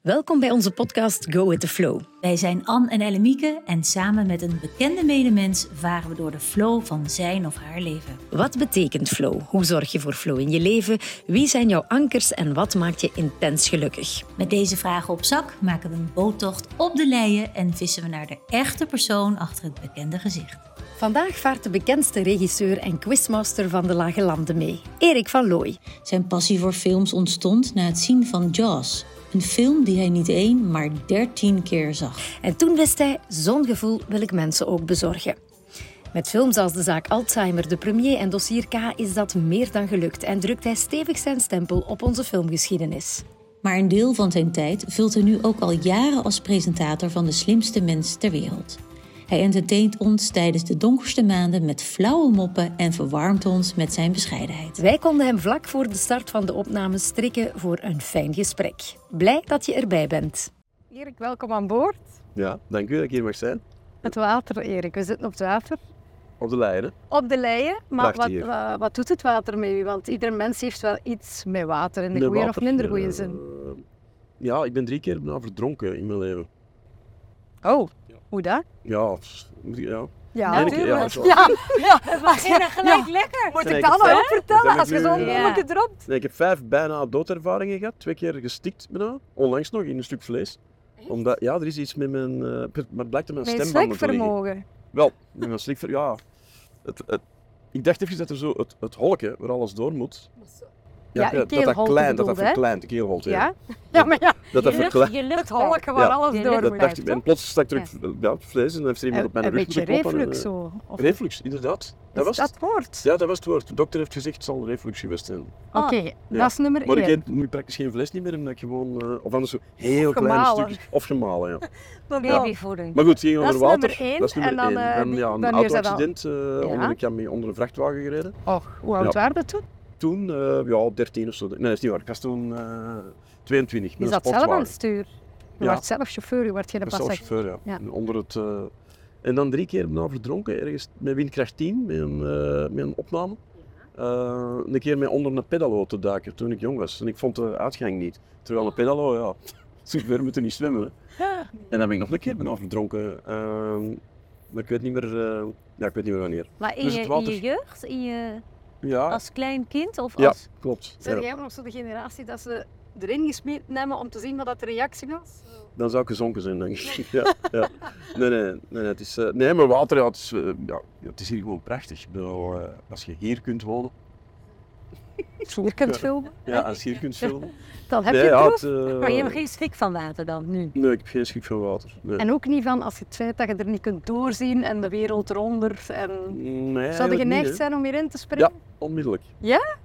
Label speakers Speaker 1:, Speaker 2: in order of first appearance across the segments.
Speaker 1: Welkom bij onze podcast Go with the Flow.
Speaker 2: Wij zijn Anne en Ellemieke en samen met een bekende medemens varen we door de flow van zijn of haar leven.
Speaker 1: Wat betekent flow? Hoe zorg je voor flow in je leven? Wie zijn jouw ankers en wat maakt je intens gelukkig?
Speaker 2: Met deze vragen op zak maken we een boottocht op de leien en vissen we naar de echte persoon achter het bekende gezicht.
Speaker 1: Vandaag vaart de bekendste regisseur en quizmaster van de Lage Landen mee, Erik van Looy.
Speaker 2: Zijn passie voor films ontstond na het zien van Jaws. Een film die hij niet één, maar dertien keer zag.
Speaker 1: En toen wist hij, zo'n gevoel wil ik mensen ook bezorgen. Met films als de zaak Alzheimer, de premier en dossier K is dat meer dan gelukt en drukt hij stevig zijn stempel op onze filmgeschiedenis.
Speaker 2: Maar een deel van zijn tijd vult hij nu ook al jaren als presentator van de slimste mens ter wereld. Hij entertaint ons tijdens de donkerste maanden met flauwe moppen en verwarmt ons met zijn bescheidenheid.
Speaker 1: Wij konden hem vlak voor de start van de opname strikken voor een fijn gesprek. Blij dat je erbij bent.
Speaker 3: Erik, welkom aan boord.
Speaker 4: Ja, dank u dat ik hier mag zijn.
Speaker 3: Het water, Erik. We zitten op het water.
Speaker 4: Op de lijn, hè?
Speaker 3: Op de leien. Maar
Speaker 4: Prachtig
Speaker 3: wat,
Speaker 4: hier.
Speaker 3: wa- wat doet het water met u? Want ieder mens heeft wel iets met water. In de
Speaker 4: Nee,
Speaker 3: goede of
Speaker 4: water.
Speaker 3: minder goede
Speaker 4: Eh,
Speaker 3: zin.
Speaker 4: ja, ik ben drie keer bijna verdronken in mijn leven.
Speaker 3: Oh, hoe dat?
Speaker 4: Ja, pff, moet ik- ja.
Speaker 3: Ja,
Speaker 4: Nee, ik- ja,
Speaker 3: tuurlijk.
Speaker 4: dat is wel-
Speaker 3: ja, ja,
Speaker 2: gelijk lekker!
Speaker 3: Moet
Speaker 4: Nee,
Speaker 3: ik
Speaker 4: ik
Speaker 3: dat nou
Speaker 4: heb-
Speaker 3: ook vertellen
Speaker 4: heb eh,
Speaker 3: als je
Speaker 4: nu-
Speaker 3: zo'n
Speaker 4: Ja.
Speaker 3: bolletje dropt?
Speaker 4: Nee, ik heb vijf bijna doodervaringen gehad. Twee keer gestikt bijna. Onlangs nog in een stuk vlees. Omdat, ja, er is iets met mijn... eh, per- maar het blijkt dat mijn
Speaker 3: Mijn
Speaker 4: stembanden te liggen.
Speaker 3: slikvermogen.
Speaker 4: Wel, met mijn slikver... Ja. Het, het- ik dacht even dat er zo het, het holkje waar alles door moet...
Speaker 3: Ja, een
Speaker 4: dat dat
Speaker 3: keelholte
Speaker 4: klein, dat dat
Speaker 3: bedoelde, hè?
Speaker 4: verkleint, de keelholte. ja.
Speaker 3: Ja? Ja, maar ja,
Speaker 4: Dat dat verkleint.
Speaker 3: het holken waar
Speaker 4: Ja,
Speaker 3: alles
Speaker 2: die
Speaker 3: door
Speaker 4: Dat
Speaker 3: moet.
Speaker 4: dacht ik. En plots stak er ook, ja, vlees en dan heeft er iemand op mijn
Speaker 3: Een
Speaker 4: rug
Speaker 3: beetje
Speaker 4: moeten kloppen en,
Speaker 3: reflux
Speaker 4: eh,
Speaker 3: zo. Of is
Speaker 4: Reflux, inderdaad. Dat was
Speaker 3: dat
Speaker 4: het.
Speaker 3: woord?
Speaker 4: Ja, dat was het woord. De dokter heeft gezegd, het zal reflux geweest zijn.
Speaker 3: Oké, dat is nummer
Speaker 4: Maar ik
Speaker 3: 1.
Speaker 4: eet nu praktisch geen vlees niet meer, omdat ik gewoon... eh, of anders zo heel kleine
Speaker 3: gemalen.
Speaker 4: stukjes... Of gemalen, ja.
Speaker 2: Babyvoeding.
Speaker 4: Maar goed, ging
Speaker 3: Dat is
Speaker 4: onder water.
Speaker 3: nummer één,
Speaker 4: dat is nummer
Speaker 3: en dan,
Speaker 4: één.
Speaker 3: eh,
Speaker 4: en
Speaker 3: die-
Speaker 4: ja, een
Speaker 3: dan is dat wel-
Speaker 4: auto-accident. eh, onder,
Speaker 3: Ja.
Speaker 4: ik heb mee onder een vrachtwagen gereden.
Speaker 3: Och, hoe oud
Speaker 4: Ja.
Speaker 3: waren dat toen?
Speaker 4: Toen, eh, ja, op 13 of zo. Nee, dat is niet waar. Ik was toen eh 22.
Speaker 3: Je
Speaker 4: met
Speaker 3: zat
Speaker 4: een
Speaker 3: zelf aan
Speaker 4: sportwagen.
Speaker 3: het stuur. Je
Speaker 4: Ja.
Speaker 3: wordt zelf chauffeur, je wordt geen
Speaker 4: Ik was zelf
Speaker 3: passagier.
Speaker 4: chauffeur, ja.
Speaker 3: Ja.
Speaker 4: En Onder het, eh, en dan drie keer na verdronken, ergens met windkracht 10, met een, eh, met een opname. Eh, een keer met onder een pedalo te duiken toen ik jong was. En ik vond de uitgang niet. Terwijl een pedalo, ja, zo ver moeten niet zwemmen. hè. En dan ben ik nog een keer bijna verdronken. Eh, maar ik weet niet meer, eh, ja, ik weet niet meer wanneer.
Speaker 2: Maar in,
Speaker 4: Dus
Speaker 2: je,
Speaker 4: het
Speaker 2: in
Speaker 4: water-
Speaker 2: je jeugd, in je,
Speaker 4: Ja,
Speaker 2: als klein kind of
Speaker 4: ja
Speaker 2: als...
Speaker 4: klopt. Ja.
Speaker 3: Zijn jij nog zo de generatie dat ze erin gesmeten hebben om te zien wat dat de reactie was?
Speaker 4: Dan zou ik gezonken zijn, denk ik. Ja, ja. Nee, nee, nee, nee, het is, eh, nee, maar water, ja, het, is, eh, ja, het is hier gewoon prachtig. Ik bedoel, eh, als je hier kunt wonen,
Speaker 3: Je kunt filmen.
Speaker 4: ja, als je hier kunt filmen.
Speaker 3: Dan heb je
Speaker 4: nee,
Speaker 3: het
Speaker 4: ja,
Speaker 3: proef.
Speaker 4: het, eh,
Speaker 2: Maar je hebt geen schrik van water dan, nu?
Speaker 4: Nee, ik heb geen schrik van water. Nee,
Speaker 3: En ook niet van als je het feit dat je er niet kunt doorzien en de wereld eronder. En...
Speaker 4: nee
Speaker 3: Zou je
Speaker 4: eigenlijk
Speaker 3: geneigd
Speaker 4: niet, hè.
Speaker 3: zijn om hierin te springen?
Speaker 4: Onmiddellijk. Je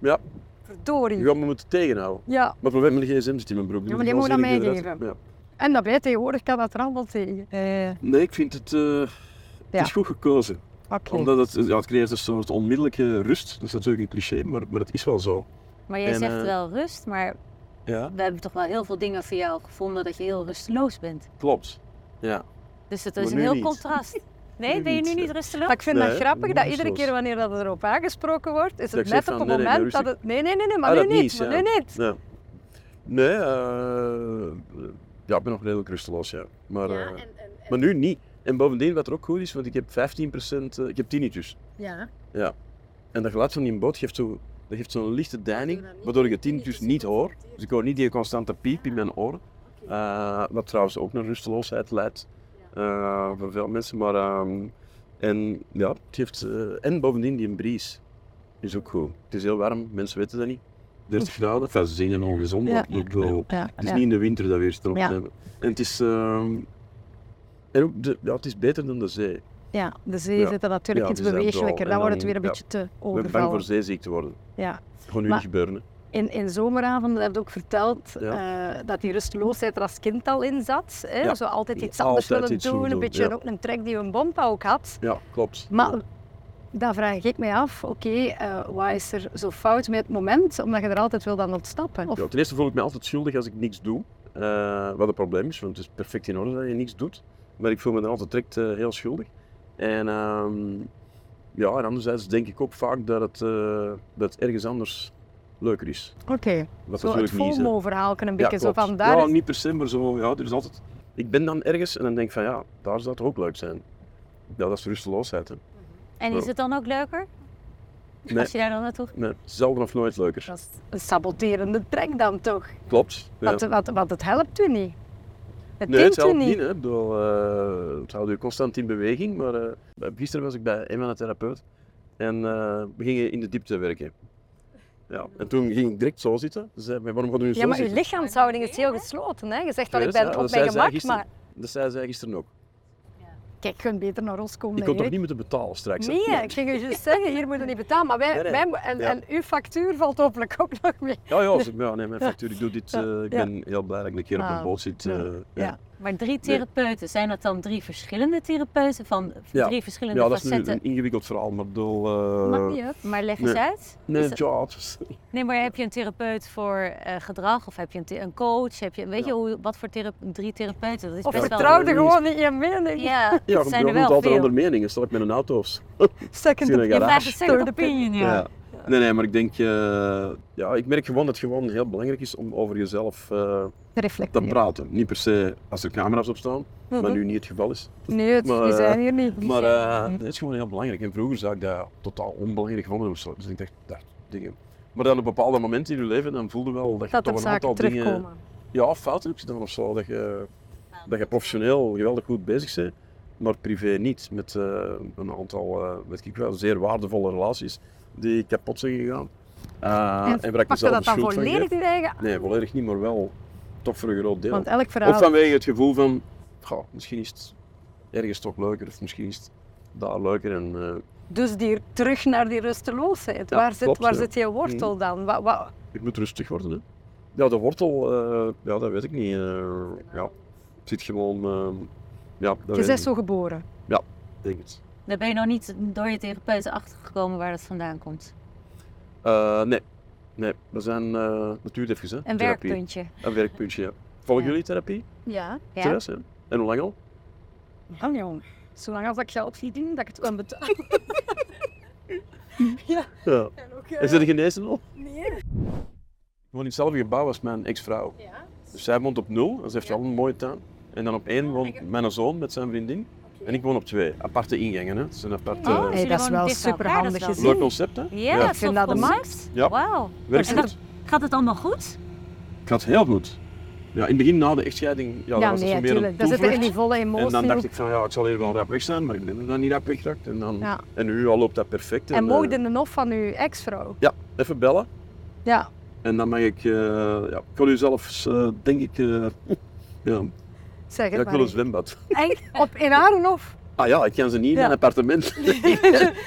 Speaker 3: Verdorie.
Speaker 4: gaat me moeten tegenhouden.
Speaker 3: Ja,
Speaker 4: Maar het probleem met de gsm zit in mijn broek.
Speaker 3: Ja,
Speaker 4: dus
Speaker 3: maar die
Speaker 4: ik
Speaker 3: moet je
Speaker 4: wil
Speaker 3: dan
Speaker 4: zeker dat-
Speaker 3: meegeven.
Speaker 4: ja.
Speaker 3: en dat bij tegenwoordig kan dat er allemaal tegen. Eh,
Speaker 4: Nee, ik vind het, eh,
Speaker 3: Ja.
Speaker 4: het is goed gekozen.
Speaker 3: Oké.
Speaker 4: Omdat het, ja, het creëert een soort onmiddellijke rust. Dat is natuurlijk een cliché, maar, maar het is wel zo.
Speaker 2: Maar jij
Speaker 4: En,
Speaker 2: zegt
Speaker 4: eh,
Speaker 2: wel rust, maar
Speaker 4: Ja,
Speaker 2: we hebben toch wel heel veel dingen voor jou gevonden dat je heel rusteloos bent.
Speaker 4: klopt. Ja.
Speaker 2: Dus het
Speaker 4: Maar
Speaker 2: is een
Speaker 4: nu
Speaker 2: heel
Speaker 4: niet.
Speaker 2: contrast. Nee,
Speaker 4: Nu
Speaker 2: ben je nu
Speaker 4: niet,
Speaker 2: niet
Speaker 4: eh.
Speaker 2: rusteloos?
Speaker 3: Maar ik vind dat
Speaker 4: Nee,
Speaker 3: grappig dat
Speaker 4: niet
Speaker 3: iedere
Speaker 4: zoals-
Speaker 3: keer wanneer dat erop aangesproken wordt, is
Speaker 4: Dat
Speaker 3: het
Speaker 4: ik
Speaker 3: net
Speaker 4: zeg
Speaker 3: op
Speaker 4: van,
Speaker 3: het
Speaker 4: nee, nee,
Speaker 3: moment
Speaker 4: nee,
Speaker 3: dat het... Nee, nee, nee, nee maar
Speaker 4: Ah,
Speaker 3: nu
Speaker 4: dat
Speaker 3: niet.
Speaker 4: niet,
Speaker 3: maar
Speaker 4: ja.
Speaker 3: nu niet.
Speaker 4: Nee, nee eh, ja, ik ben nog redelijk rusteloos, ja. Maar, eh, maar nu niet. En bovendien, wat er ook goed is, want ik heb 15%, eh, ik heb tinnitus.
Speaker 3: Ja.
Speaker 4: En dat geluid van die boot geeft zo'n geeft zo'n lichte deining, waardoor ik het tinnitus niet hoor. Dus ik hoor niet die constante piep in mijn oren. Eh, wat trouwens ook naar rusteloosheid leidt eh, voor veel mensen. Maar, ehm, en, ja, het heeft, eh, en bovendien die bries is ook goed. Het is heel warm, mensen weten dat niet. 30 graden, enfin, ze zien het ongezond, maar ik bedoel,
Speaker 3: Ja,
Speaker 4: het is
Speaker 3: ja.
Speaker 4: niet in de winter dat we hier staan
Speaker 3: Ja.
Speaker 4: opnemen. En het is, ehm, en ook de, ja, het is beter dan de zee.
Speaker 3: ja, de zee
Speaker 4: Ja.
Speaker 3: zitten natuurlijk
Speaker 4: Ja,
Speaker 3: iets
Speaker 4: dus dat wel.
Speaker 3: beweeglijker.
Speaker 4: En
Speaker 3: Dan wordt het
Speaker 4: dan-
Speaker 3: weer een
Speaker 4: ja.
Speaker 3: beetje te
Speaker 4: Ik ben bang voor
Speaker 3: overvallen.
Speaker 4: zeeziek te worden.
Speaker 3: Ja.
Speaker 4: Gewoon nu
Speaker 3: Maar-
Speaker 4: niet gebeuren. hè.
Speaker 3: In, in zomeravonden heb je ook verteld eh, dat die rusteloosheid er als kind al in zat. Hè?
Speaker 4: Ja.
Speaker 3: Zo altijd
Speaker 4: Die
Speaker 3: iets anders
Speaker 4: altijd
Speaker 3: willen
Speaker 4: iets
Speaker 3: doen,
Speaker 4: willen
Speaker 3: een
Speaker 4: doen,
Speaker 3: beetje
Speaker 4: ja.
Speaker 3: en ook een trek die een bompa ook had.
Speaker 4: Ja, klopt.
Speaker 3: Maar dan vraag ik mij af, oké, eh, wat is er zo fout met het moment, omdat je er altijd wil aan ontsnappen? Of,
Speaker 4: Ja, ten eerste voel ik me altijd schuldig als ik niks doe. Eh, wat een probleem is, want het is perfect in orde dat je niks doet. Maar ik voel me dan altijd direct eh, heel schuldig. En, ehm, ja, en anderzijds denk ik ook vaak dat het, eh, dat het ergens anders leuker is.
Speaker 3: Oké,
Speaker 4: Wat
Speaker 3: zo het
Speaker 4: natuurlijk niet is. hè.
Speaker 3: FOMO-verhaal kunnen een beetje zo
Speaker 4: klopt.
Speaker 3: van daar
Speaker 4: Ja,
Speaker 3: is-
Speaker 4: niet per se, maar zo, ja, er is altijd... Ik ben dan ergens en dan denk ik van, ja, daar zou het ook leuk zijn. Ja, dat is rusteloosheid, hè.
Speaker 5: En is het dan ook leuker?
Speaker 4: Nee.
Speaker 5: Als je daar dan naartoe gaat?
Speaker 4: Nee, zelden of nooit leuker.
Speaker 3: Dat is een saboterende trek dan toch?
Speaker 4: Klopt. ja.
Speaker 3: Want, want, want het helpt u niet. Het
Speaker 4: Nee,
Speaker 3: dient
Speaker 4: het
Speaker 3: u
Speaker 4: helpt
Speaker 3: niet.
Speaker 4: niet. Hè. Ik bedoel, eh, het houdt je constant in beweging. Maar eh, bij- gisteren was ik bij Emma, een therapeut. En eh, we gingen in de diepte werken. Ja, en toen ging ik direct zo zitten. Ze zei, "Maar waarom gaat u nu
Speaker 3: Ja,
Speaker 4: zo
Speaker 3: maar uw
Speaker 4: zitten?
Speaker 3: lichaamshouding is heel gesloten. Hè? Je zegt wel,
Speaker 4: Ja,
Speaker 3: ik
Speaker 4: dat-
Speaker 3: ben
Speaker 4: ja,
Speaker 3: op
Speaker 4: dat
Speaker 3: mijn
Speaker 4: zei zij
Speaker 3: gemak,
Speaker 4: gisteren.
Speaker 3: maar
Speaker 4: Dat zei zij gisteren ook.
Speaker 3: kijk, kun beter naar ons komen.
Speaker 4: Ik kon
Speaker 3: dan
Speaker 4: toch
Speaker 3: ik.
Speaker 4: niet moeten betalen straks? hè?
Speaker 3: Nee, ik ging u juist zeggen, hier moeten we niet betalen. Maar wij,
Speaker 4: Nee, nee.
Speaker 3: wij mo- en,
Speaker 4: Ja.
Speaker 3: en uw factuur valt hopelijk ook nog mee.
Speaker 4: Ja, ja, ze- ja nee, mijn factuur, ik doe dit. eh, ik
Speaker 3: Ja.
Speaker 4: ben heel blij dat ik een keer op
Speaker 3: Ah,
Speaker 4: een boot zit. eh,
Speaker 3: ja.
Speaker 4: ja.
Speaker 3: Ja.
Speaker 5: Maar drie therapeuten, zijn dat dan drie verschillende therapeuten van
Speaker 4: Ja.
Speaker 5: drie verschillende
Speaker 4: Ja, dat is nu
Speaker 5: facetten?
Speaker 4: een ingewikkeld verhaal, maar ik bedoel... eh,
Speaker 5: Maakt niet uit. Maar leg eens
Speaker 4: nee.
Speaker 5: uit.
Speaker 4: nee,
Speaker 5: Is dat-
Speaker 4: jobs.
Speaker 5: nee, maar heb je een therapeut voor eh, gedrag of heb je een, the- een coach? Heb je, weet je
Speaker 4: Ja.
Speaker 5: hoe, wat voor thera- drie therapeuten? Dat is
Speaker 3: Of
Speaker 5: best wel.
Speaker 3: vertrouwde
Speaker 4: Louise.
Speaker 3: gewoon in je mening.
Speaker 5: Ja,
Speaker 4: Ja,
Speaker 5: dat
Speaker 4: ik
Speaker 5: zijn
Speaker 4: bedoel,
Speaker 5: er wel
Speaker 4: altijd
Speaker 5: veel.
Speaker 4: onder meningen. Stel ik met een auto's.
Speaker 3: Second
Speaker 4: Zie je
Speaker 3: opinion.
Speaker 4: dat?
Speaker 5: vraagt een second opinion, ja.
Speaker 4: Ja. Nee, nee, maar ik denk, eh, ja, ik merk gewoon dat het gewoon heel belangrijk is om over jezelf eh,
Speaker 3: Te
Speaker 4: te
Speaker 3: reflecteren.
Speaker 4: praten. Niet per se als er camera's op staan, wat nu niet het geval is.
Speaker 3: Nee, het,
Speaker 4: Maar,
Speaker 3: we
Speaker 4: eh,
Speaker 3: zijn hier niet.
Speaker 4: Maar eh dat is gewoon heel belangrijk. En vroeger zou ik dat totaal onbelangrijk vonden of zo. Dus ik dacht, dat dingen. Maar dan op bepaalde momenten in je leven, dan voelde wel dat je
Speaker 3: dat
Speaker 4: toch
Speaker 3: er
Speaker 4: een
Speaker 3: zaken
Speaker 4: aantal dingen
Speaker 3: terugkomen.
Speaker 4: ja, fouten hebt gedaan of zo. Dat je, dat je professioneel geweldig goed bezig bent, maar privé niet. Met eh, een aantal, eh weet ik wel, zeer waardevolle relaties die kapot zijn gegaan. Eh, en, waar ik
Speaker 3: Pak je
Speaker 4: mezelf de
Speaker 3: dat dan
Speaker 4: schuld van geef.
Speaker 3: volledig in je eigen...
Speaker 4: Nee, volledig niet, maar wel toch voor een groot deel.
Speaker 3: Want elk
Speaker 4: Ook
Speaker 3: verhaal...
Speaker 4: vanwege het gevoel van, "Goh, misschien is het ergens toch leuker of misschien is het daar leuker. En, eh,
Speaker 3: Dus die, terug naar die rusteloosheid.
Speaker 4: Ja,
Speaker 3: waar zit,
Speaker 4: klopt,
Speaker 3: waar
Speaker 4: ja. Mhm.
Speaker 3: zit je wortel dan? Wa- wa-
Speaker 4: ik moet rustig worden. Hè. Ja, de wortel, eh, ja, dat weet ik niet. eh, ja, het zit gewoon... eh, ja, dat weet
Speaker 3: je
Speaker 4: ik
Speaker 3: bent
Speaker 4: niet.
Speaker 3: zo geboren.
Speaker 4: Ik denk het.
Speaker 5: Daar ben je nog niet door je therapeuten achtergekomen waar dat vandaan komt.
Speaker 4: Eh, nee. nee, we zijn eh natuurdefjes. Hè?
Speaker 5: Een
Speaker 4: Therapie.
Speaker 5: werkpuntje.
Speaker 4: Een werkpuntje, ja. Volgen
Speaker 5: Ja.
Speaker 4: jullie therapie,
Speaker 3: Ja.
Speaker 5: Ja.
Speaker 4: Therese? hè? En hoe lang al?
Speaker 3: Ah, jong. Zolang als ik geld verdien, dat ik het kan betalen.
Speaker 4: Ja. Is er genezen al?
Speaker 3: Nee.
Speaker 4: Ik woon in hetzelfde gebouw als mijn ex-vrouw. Dus zij woont op nul, dus heeft al een mooie tuin. En dan op één woont mijn zoon met zijn vriendin. En ik woon op twee. Aparte ingangen, hè. Het is een aparte...
Speaker 5: Oh,
Speaker 3: Hey,
Speaker 5: Jullie
Speaker 3: dat is
Speaker 5: wonen
Speaker 3: wel
Speaker 5: dicht bij elkaar,
Speaker 3: superhandig
Speaker 5: dat is wel-
Speaker 4: Leuk
Speaker 3: gezien.
Speaker 4: concept, hè?
Speaker 5: Ja,
Speaker 4: Ja.
Speaker 5: dat
Speaker 3: vind dat de max.
Speaker 4: Ja.
Speaker 5: Wauw.
Speaker 4: Werkt
Speaker 5: En
Speaker 4: goed.
Speaker 5: dat- Gaat het allemaal goed?
Speaker 4: Gaat heel goed. Ja, in het begin na de echtscheiding, ja, dat
Speaker 3: Ja,
Speaker 4: was
Speaker 3: nee,
Speaker 4: het zo meer
Speaker 3: natuurlijk.
Speaker 4: een
Speaker 3: Dat zit er in die
Speaker 4: toevlucht.
Speaker 3: volle
Speaker 4: En dan
Speaker 3: emotie.
Speaker 4: dacht ik van, ja, ik zal hier wel rap weg zijn, maar ik ben er dan niet rap weggeraakt. En, dan...
Speaker 3: Ja.
Speaker 4: en nu al loopt dat perfect.
Speaker 3: En
Speaker 4: eh,
Speaker 3: mocht in de hof van uw ex-vrouw.
Speaker 4: Even bellen.
Speaker 3: Ja.
Speaker 4: En dan mag ik, eh, ja, ik wil u zelfs, eh, denk ik, eh, ja,
Speaker 3: Zeg het
Speaker 4: ja, ik wil een
Speaker 3: maar.
Speaker 4: zwembad.
Speaker 3: En op, in haar hof.
Speaker 4: Ah ja, ik kan ze niet in
Speaker 3: Ja.
Speaker 4: mijn appartement.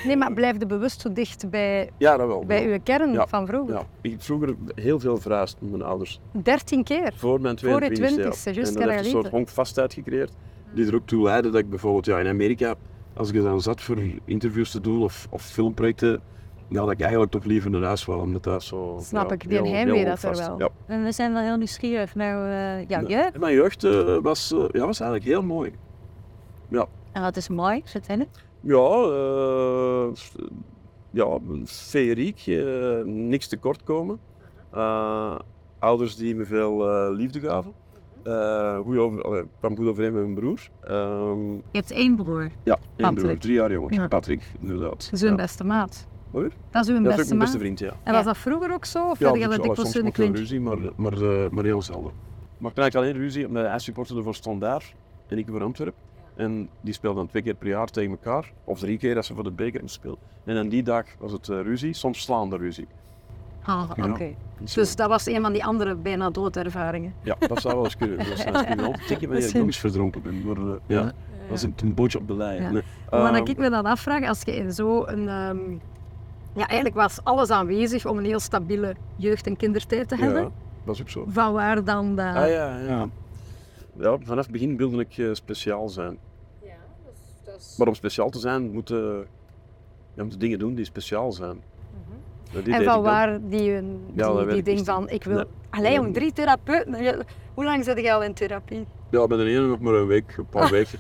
Speaker 3: Nee, maar blijf er bewust zo dicht bij,
Speaker 4: ja, dat wel.
Speaker 3: bij uw kern
Speaker 4: Ja.
Speaker 3: van vroeger.
Speaker 4: Ja, ik heb vroeger heel veel verhuisd met mijn ouders.
Speaker 3: 13 keer.
Speaker 4: Voor mijn
Speaker 3: Voor je
Speaker 4: 22e.
Speaker 3: twintigste, juist,
Speaker 4: en dat heeft een
Speaker 3: Carolien.
Speaker 4: soort honkvastheid gecreëerd.
Speaker 3: Mm.
Speaker 4: Die er ook toe leidde dat ik bijvoorbeeld ja, in Amerika, als ik dan zat voor interviews te doen of, of filmprojecten, ja, dat ik eigenlijk toch liever naar huis wou, omdat dat zo...
Speaker 3: Snap
Speaker 4: ja,
Speaker 3: ik, die
Speaker 4: heel-
Speaker 3: heimwee
Speaker 4: heel
Speaker 3: dat er
Speaker 4: honkvast.
Speaker 3: wel.
Speaker 4: Ja.
Speaker 5: En we zijn wel heel nieuwsgierig naar eh, jouw
Speaker 4: Ja.
Speaker 5: jeugd.
Speaker 4: En mijn jeugd eh, was, eh, ja, was eigenlijk heel mooi.
Speaker 5: En dat is mooi, vertel het.
Speaker 4: Ja, eh, ja feeriek, eh, niks tekortkomen. Eh, ouders die me veel eh, liefde gaven. Eh goed over, allee, kwam goed overeen met mijn broer. Ehm,
Speaker 5: Je hebt één broer.
Speaker 4: ja, één broer,
Speaker 3: Patrick.
Speaker 4: drie jaar jonger.
Speaker 3: Ja.
Speaker 4: Patrick, inderdaad.
Speaker 3: Dat is uw
Speaker 4: ja.
Speaker 3: beste maat.
Speaker 4: Wat weer?
Speaker 3: Dat is uw
Speaker 4: Ja, dat is ook
Speaker 3: beste
Speaker 4: mijn
Speaker 3: maat.
Speaker 4: beste vriend, ja.
Speaker 3: En was dat vroeger ook zo? Of ja,
Speaker 4: dat
Speaker 3: je dat
Speaker 4: is wel,
Speaker 3: dikwijls in de
Speaker 4: soms wel
Speaker 3: klintje?
Speaker 4: ruzie, maar, maar, eh, maar heel zelden. Maar ik had eigenlijk alleen ruzie omdat hij supporterde voor Standaard en ik voor Antwerpen. En die speelden dan twee keer per jaar tegen elkaar, of drie keer als ze voor de beker hebben gespeeld. En aan die dag was het eh, ruzie, soms slaande ruzie.
Speaker 5: Ah, oké.
Speaker 4: Ja.
Speaker 3: Dus dat was een van die andere bijna doodervaringen.
Speaker 4: eh, Ja, dat zou wel eens kunnen. Dat zou wel eens kunnen. Altijd tikken wanneer ik nog eens verdronken ben. Maar, eh, ja, dat is een, een bootje op de lijn.
Speaker 3: Ja.
Speaker 4: Nee.
Speaker 3: Maar dan
Speaker 4: Ehm,
Speaker 3: ik me dan afvraag, als je in zo'n... ehm, ja, eigenlijk was alles aanwezig om een heel stabiele jeugd- en kindertijd te hebben.
Speaker 4: ehm, Ja, dat is ook zo.
Speaker 3: Van waar dan dat...
Speaker 4: Ah ja, ja. Ja, vanaf het begin wilde ik eh, speciaal zijn. Maar om speciaal te zijn, moeten je moet dingen doen die speciaal zijn. Ja, die
Speaker 3: Mhm. en
Speaker 4: deed
Speaker 3: van
Speaker 4: ik dan.
Speaker 3: waar die, hun- die,
Speaker 4: dat
Speaker 3: die
Speaker 4: weet ik
Speaker 3: ding
Speaker 4: niet.
Speaker 3: van, ik wil...
Speaker 4: Nee.
Speaker 3: Allee, jong, drie therapeuten. Je- Hoe lang zit je al in therapie?
Speaker 4: Ja, bij de ene nog maar een week, een paar weken.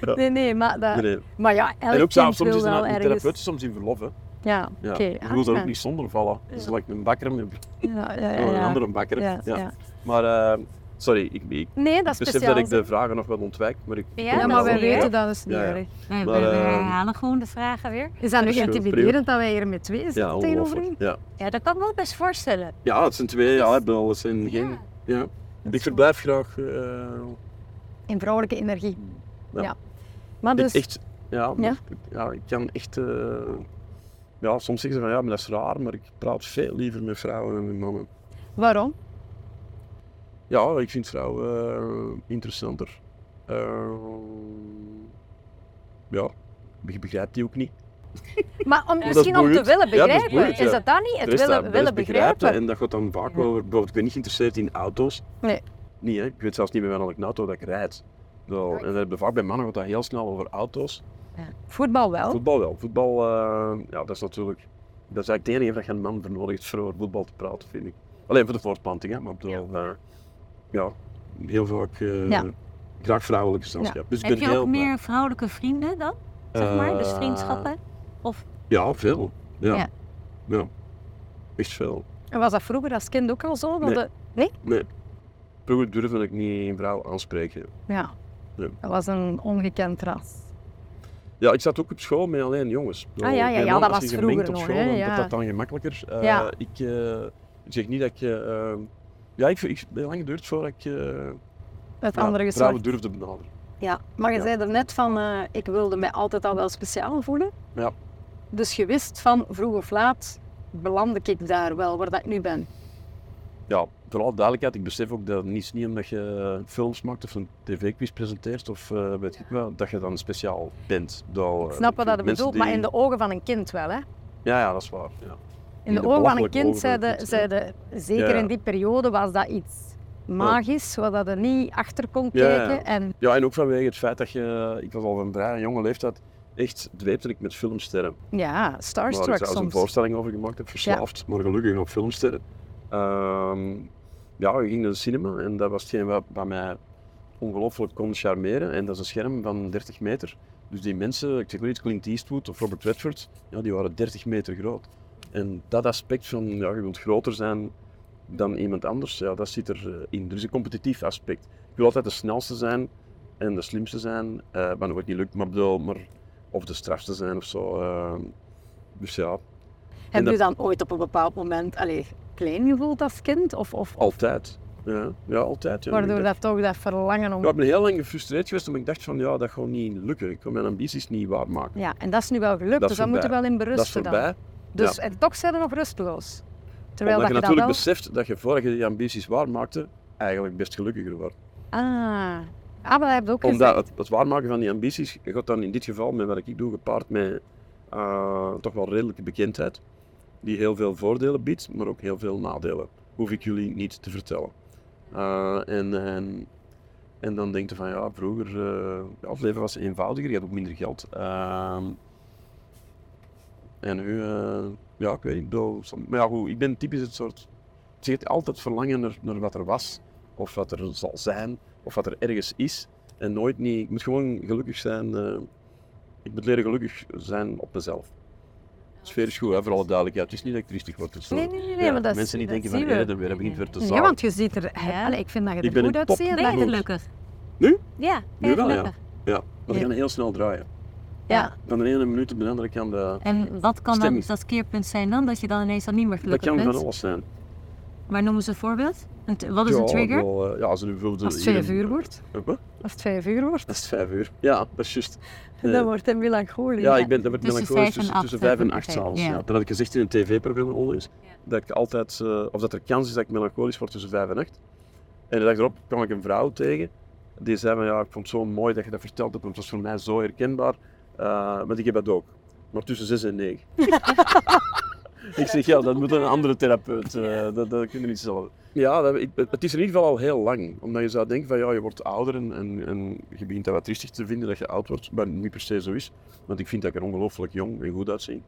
Speaker 4: Ja.
Speaker 3: Nee, nee, maar, dat,
Speaker 4: Nee, nee.
Speaker 3: maar ja, elk
Speaker 4: En ook
Speaker 3: kind
Speaker 4: soms, soms
Speaker 3: wil
Speaker 4: is er
Speaker 3: wel
Speaker 4: een, een
Speaker 3: ergens...
Speaker 4: therapeut soms in verlof. Hè.
Speaker 3: Ja,
Speaker 4: Ja.
Speaker 3: oké.
Speaker 4: Ik wil daar
Speaker 3: Ah,
Speaker 4: ook niet zonder vallen. Dat is like een bakker en een-
Speaker 3: Ja, ja, ja,
Speaker 4: een
Speaker 3: ja.
Speaker 4: andere bakker.
Speaker 3: Ja, ja.
Speaker 4: Maar eh, sorry, ik, ik
Speaker 5: Nee, dat is
Speaker 4: besef
Speaker 5: speciaal.
Speaker 4: dat ik de vragen nog wel ontwijk, maar ik...
Speaker 5: Ja,
Speaker 4: kom
Speaker 3: Ja,
Speaker 5: dat
Speaker 4: wel
Speaker 3: maar
Speaker 5: is
Speaker 3: wij
Speaker 4: op,
Speaker 5: niet, hè?
Speaker 3: weten dat dus niet.
Speaker 4: Ja, ja.
Speaker 3: hoor.
Speaker 5: Wij,
Speaker 4: Maar,
Speaker 5: wij- wij
Speaker 4: eh,
Speaker 5: herhalen gewoon de vragen weer.
Speaker 3: Is dat nu
Speaker 4: Verschil,
Speaker 3: intimiderend dat wij hier met twee
Speaker 4: Ja,
Speaker 3: zitten tegenover u?
Speaker 4: ongelooflijk. Ja.
Speaker 5: Ja, dat kan ik me ook best voorstellen.
Speaker 4: ja, het zijn twee, ja, dat zijn geen... Ja. Ik verblijf graag... eh,
Speaker 3: In vrouwelijke energie. Ja.
Speaker 4: Mm. Ja.
Speaker 3: Maar
Speaker 4: Ik
Speaker 3: dus,
Speaker 4: echt, ja, maar
Speaker 3: Ja?
Speaker 4: Ik, ja, ik kan echt... eh, ja, soms zeggen ze van ja, maar dat is raar, maar ik praat veel liever met vrouwen dan met mannen.
Speaker 3: waarom?
Speaker 4: Ja, ik vind vrouwen eh, interessanter. Eh, ja, ik begrijp die ook niet.
Speaker 5: Maar om
Speaker 4: dat
Speaker 5: misschien om te
Speaker 4: boeiend.
Speaker 5: willen
Speaker 4: Ja, dat is
Speaker 5: begrijpen.
Speaker 4: boeiend, ja.
Speaker 5: Is dat dan niet?
Speaker 4: Er
Speaker 5: Het
Speaker 4: is daar
Speaker 5: willen,
Speaker 4: best
Speaker 5: willen begrijpen.
Speaker 4: En dat gaat dan vaak
Speaker 3: Ja.
Speaker 4: over... Bijvoorbeeld, ik ben niet geïnteresseerd in auto's.
Speaker 3: Nee.
Speaker 4: Niet, hè? Ik weet zelfs niet meer welke auto dat ik rijd. Wel, en dat hebben vaak bij mannen gaat dat heel snel over auto's.
Speaker 3: Voetbal
Speaker 5: Oh.
Speaker 3: wel.
Speaker 4: Voetbal wel. Voetbal, eh, ja, dat is natuurlijk... Dat is eigenlijk het enige dat je een man voor nodig hebt voor over voetbal te praten, vind ik. Alleen voor de voortplanting, hè. Maar ik bedoel, eh, ja, heel vaak eh,
Speaker 3: Ja.
Speaker 4: graag vrouwelijke gezelschap. Dus ik
Speaker 5: Heb
Speaker 4: ben
Speaker 5: je
Speaker 4: heel
Speaker 5: ook
Speaker 4: blij.
Speaker 5: meer vrouwelijke vrienden dan? Zeg maar, dus
Speaker 4: Eh,
Speaker 5: vriendschappen?
Speaker 4: Ja, veel. Ja.
Speaker 5: Ja.
Speaker 4: ja. Echt veel.
Speaker 3: En was dat vroeger als kind ook al zo? Dat
Speaker 4: Nee.
Speaker 3: de-
Speaker 4: Nee. Vroeger durfde ik niet een vrouw aanspreken.
Speaker 3: Ja.
Speaker 4: Ja.
Speaker 3: Dat was een ongekend ras.
Speaker 4: Ja, ik zat ook op school met alleen jongens.
Speaker 3: Ah, ja, ja,
Speaker 4: Mijn
Speaker 3: ja,
Speaker 4: man,
Speaker 3: dat
Speaker 4: als
Speaker 3: was
Speaker 4: je
Speaker 3: vroeger
Speaker 4: mengt op
Speaker 3: nog,
Speaker 4: school,
Speaker 3: hè,
Speaker 4: dan-
Speaker 3: ja.
Speaker 4: Dat dat dan gemakkelijker. Eh,
Speaker 3: Ja.
Speaker 4: ik, eh, ik zeg niet dat ik... eh, eh, ja, ik, ik ben lang geduurd voordat ik eh,
Speaker 3: Het
Speaker 4: ja,
Speaker 3: andere
Speaker 4: vrouwen
Speaker 3: geslacht.
Speaker 4: durfde benaderen.
Speaker 3: Ja. Maar je
Speaker 4: Ja.
Speaker 3: zei er net van, eh, ik wilde mij altijd al wel speciaal voelen.
Speaker 4: Ja.
Speaker 3: Dus je wist van, vroeg of laat belandde ik daar wel, waar dat ik nu ben.
Speaker 4: Ja, vooral duidelijkheid. Ik besef ook dat het niet, niet omdat je films maakt of een tv-quiz presenteert of eh, weet ik wel, dat je dan speciaal bent. Dat, eh,
Speaker 3: Ik snap wat dat je bedoelt, maar in de ogen van een kind wel, hè?
Speaker 4: Ja, ja, dat is waar. Ja.
Speaker 3: In
Speaker 4: In
Speaker 3: de, ogen
Speaker 4: de
Speaker 3: van een
Speaker 4: belachelijke
Speaker 3: kind
Speaker 4: ogen van
Speaker 3: zei
Speaker 4: een
Speaker 3: de,
Speaker 4: kind,
Speaker 3: zei de- zeker
Speaker 4: Ja, ja.
Speaker 3: in die periode, was dat iets magisch, waar dat er niet achter kon
Speaker 4: Ja, ja.
Speaker 3: kijken. En
Speaker 4: Ja, en ook vanwege het feit dat je, ik was al van vrij jonge leeftijd, echt dweepte ik met filmsterren.
Speaker 3: ja,
Speaker 4: Waar ik
Speaker 3: starstruck
Speaker 4: zelfs een
Speaker 3: soms.
Speaker 4: voorstelling over gemaakt heb, verslaafd, maar gelukkig op filmsterren. Ehm, ja, ik ging naar de cinema en dat was hetgeen wat bij mij ongelooflijk kon charmeren. En dat is een scherm van 30 meter. Dus die mensen, ik zeg maar iets, Clint Eastwood of Robert Redford, ja, die waren 30 meter groot. En dat aspect van, ja, je wilt groter zijn dan iemand anders, ja, dat zit erin. Er is een competitief aspect. Ik wil altijd de snelste zijn en de slimste zijn, eh wat nog niet lukt, maar, ik bedoel, maar of de strafste zijn of zo. ehm, dus ja,
Speaker 3: Heb
Speaker 4: En
Speaker 3: je dan ooit op een bepaald moment allee, klein gevoeld als kind? Of, of
Speaker 4: altijd. Ja, ja altijd. Ja.
Speaker 3: waardoor
Speaker 4: Ik dacht-
Speaker 3: dat toch dat verlangen om...
Speaker 4: Ja, ik ben heel lang gefrustreerd geweest, omdat ik dacht van ja, dat gaat niet lukken. Ik kan mijn ambities niet waarmaken.
Speaker 3: Ja, en dat is nu wel gelukt,
Speaker 4: Dat
Speaker 3: dus
Speaker 4: is
Speaker 3: dat moeten we wel in
Speaker 4: Dat is
Speaker 3: berusten dan.
Speaker 4: voorbij.
Speaker 3: Dus,
Speaker 4: ja.
Speaker 3: En toch zijn we nog rusteloos. Terwijl
Speaker 4: Omdat je
Speaker 3: dat je
Speaker 4: natuurlijk
Speaker 3: dat wel...
Speaker 4: beseft dat je voordat je die ambities waarmaakte, eigenlijk best gelukkiger wordt.
Speaker 3: Ah, ah, maar dat heb je ook
Speaker 4: Omdat
Speaker 3: gezegd.
Speaker 4: het, het waarmaken van die ambities gaat dan in dit geval, met wat ik doe, gepaard met eh, toch wel redelijke bekendheid. Die heel veel voordelen biedt, maar ook heel veel nadelen. Hoef ik jullie niet te vertellen. Eh, en, en, en dan denk je van ja, vroeger, eh, ja, het leven was eenvoudiger, je had ook minder geld. Ehm, en nu, eh, ja, ik weet niet. ik bedoel, som- Maar ja, goed, ik ben typisch het soort. Ik zeg het altijd verlangen naar, naar wat er was, of wat er zal zijn, of wat er ergens is. En nooit niet. Ik moet gewoon gelukkig zijn. eh, ik moet leren gelukkig zijn op mezelf. De sfeer is goed, hè, voor alle duidelijkheid. Het is niet dat ik triestig word. of zo.
Speaker 3: Nee, nee, nee, nee,
Speaker 4: Ja,
Speaker 3: maar dat is-
Speaker 4: mensen niet
Speaker 3: dat
Speaker 4: denken van,
Speaker 3: zien we.
Speaker 4: eh, dan weer, hij begint weer te
Speaker 3: Ja,
Speaker 4: zagen.
Speaker 3: want je ziet er... hè, allee, ik vind dat je er
Speaker 4: Ik ben
Speaker 3: goed
Speaker 4: een
Speaker 3: uitziet.
Speaker 4: pop-
Speaker 5: Ben je
Speaker 3: dat-
Speaker 4: Nee.
Speaker 5: gelukkig?
Speaker 4: Nu?
Speaker 5: Ja, ben
Speaker 4: Nu
Speaker 5: je
Speaker 4: wel, ja.
Speaker 5: gelukkig?
Speaker 4: Ja, maar
Speaker 3: Ja.
Speaker 4: die gaan heel snel draaien.
Speaker 3: Ja,
Speaker 4: Van de ene minuut op de andere kan de...
Speaker 5: En wat kan dan
Speaker 4: Stemming.
Speaker 5: dat keerpunt zijn dan? Dat je dan ineens al niet meer
Speaker 4: Dat
Speaker 5: gelukkig
Speaker 4: kan
Speaker 5: bent?
Speaker 4: van alles zijn.
Speaker 5: Maar noemen ze een voorbeeld? Een t- wat is
Speaker 4: Ja,
Speaker 5: een trigger?
Speaker 4: wel, eh, ja, als er nu bijvoorbeeld...
Speaker 3: als het
Speaker 4: hier
Speaker 3: vijf
Speaker 4: een-
Speaker 3: uur wordt.
Speaker 4: Eh, wat?
Speaker 3: Als het vijf uur wordt,
Speaker 4: Dat is vijf uur. Ja, dat is juist. Eh,
Speaker 3: dan wordt hij melancholisch.
Speaker 4: Ja, ik ben, dat werd
Speaker 5: Tussen
Speaker 4: melancholisch
Speaker 5: vijf en
Speaker 4: tussen,
Speaker 5: acht,
Speaker 4: tussen
Speaker 5: heb
Speaker 4: vijf
Speaker 5: ik
Speaker 4: en acht
Speaker 5: begrepen,
Speaker 4: s'avonds.
Speaker 5: ja.
Speaker 4: Ja. Dat had ik gezegd in een tv-programma onlangs.
Speaker 5: Ja.
Speaker 4: Dat ik altijd, eh, of dat er kans is dat ik melancholisch word tussen vijf en acht. En de dag erop kwam ik een vrouw tegen. Die zei van ja, ik vond het zo mooi dat je dat verteld hebt, want het was voor mij zo herkenbaar. Eh want ik heb dat ook. Maar tussen zes en negen. ik zeg ja, dat moet een andere therapeut. eh, dat, dat kun je niet zelf. Ja, dat, ik- het is in ieder geval al heel lang. Omdat je zou denken van ja, je wordt ouder en, en, en je begint dat wat triestig te vinden dat je oud wordt. Maar niet per se zo is. Want ik vind dat ik er ongelooflijk jong en goed uitzie.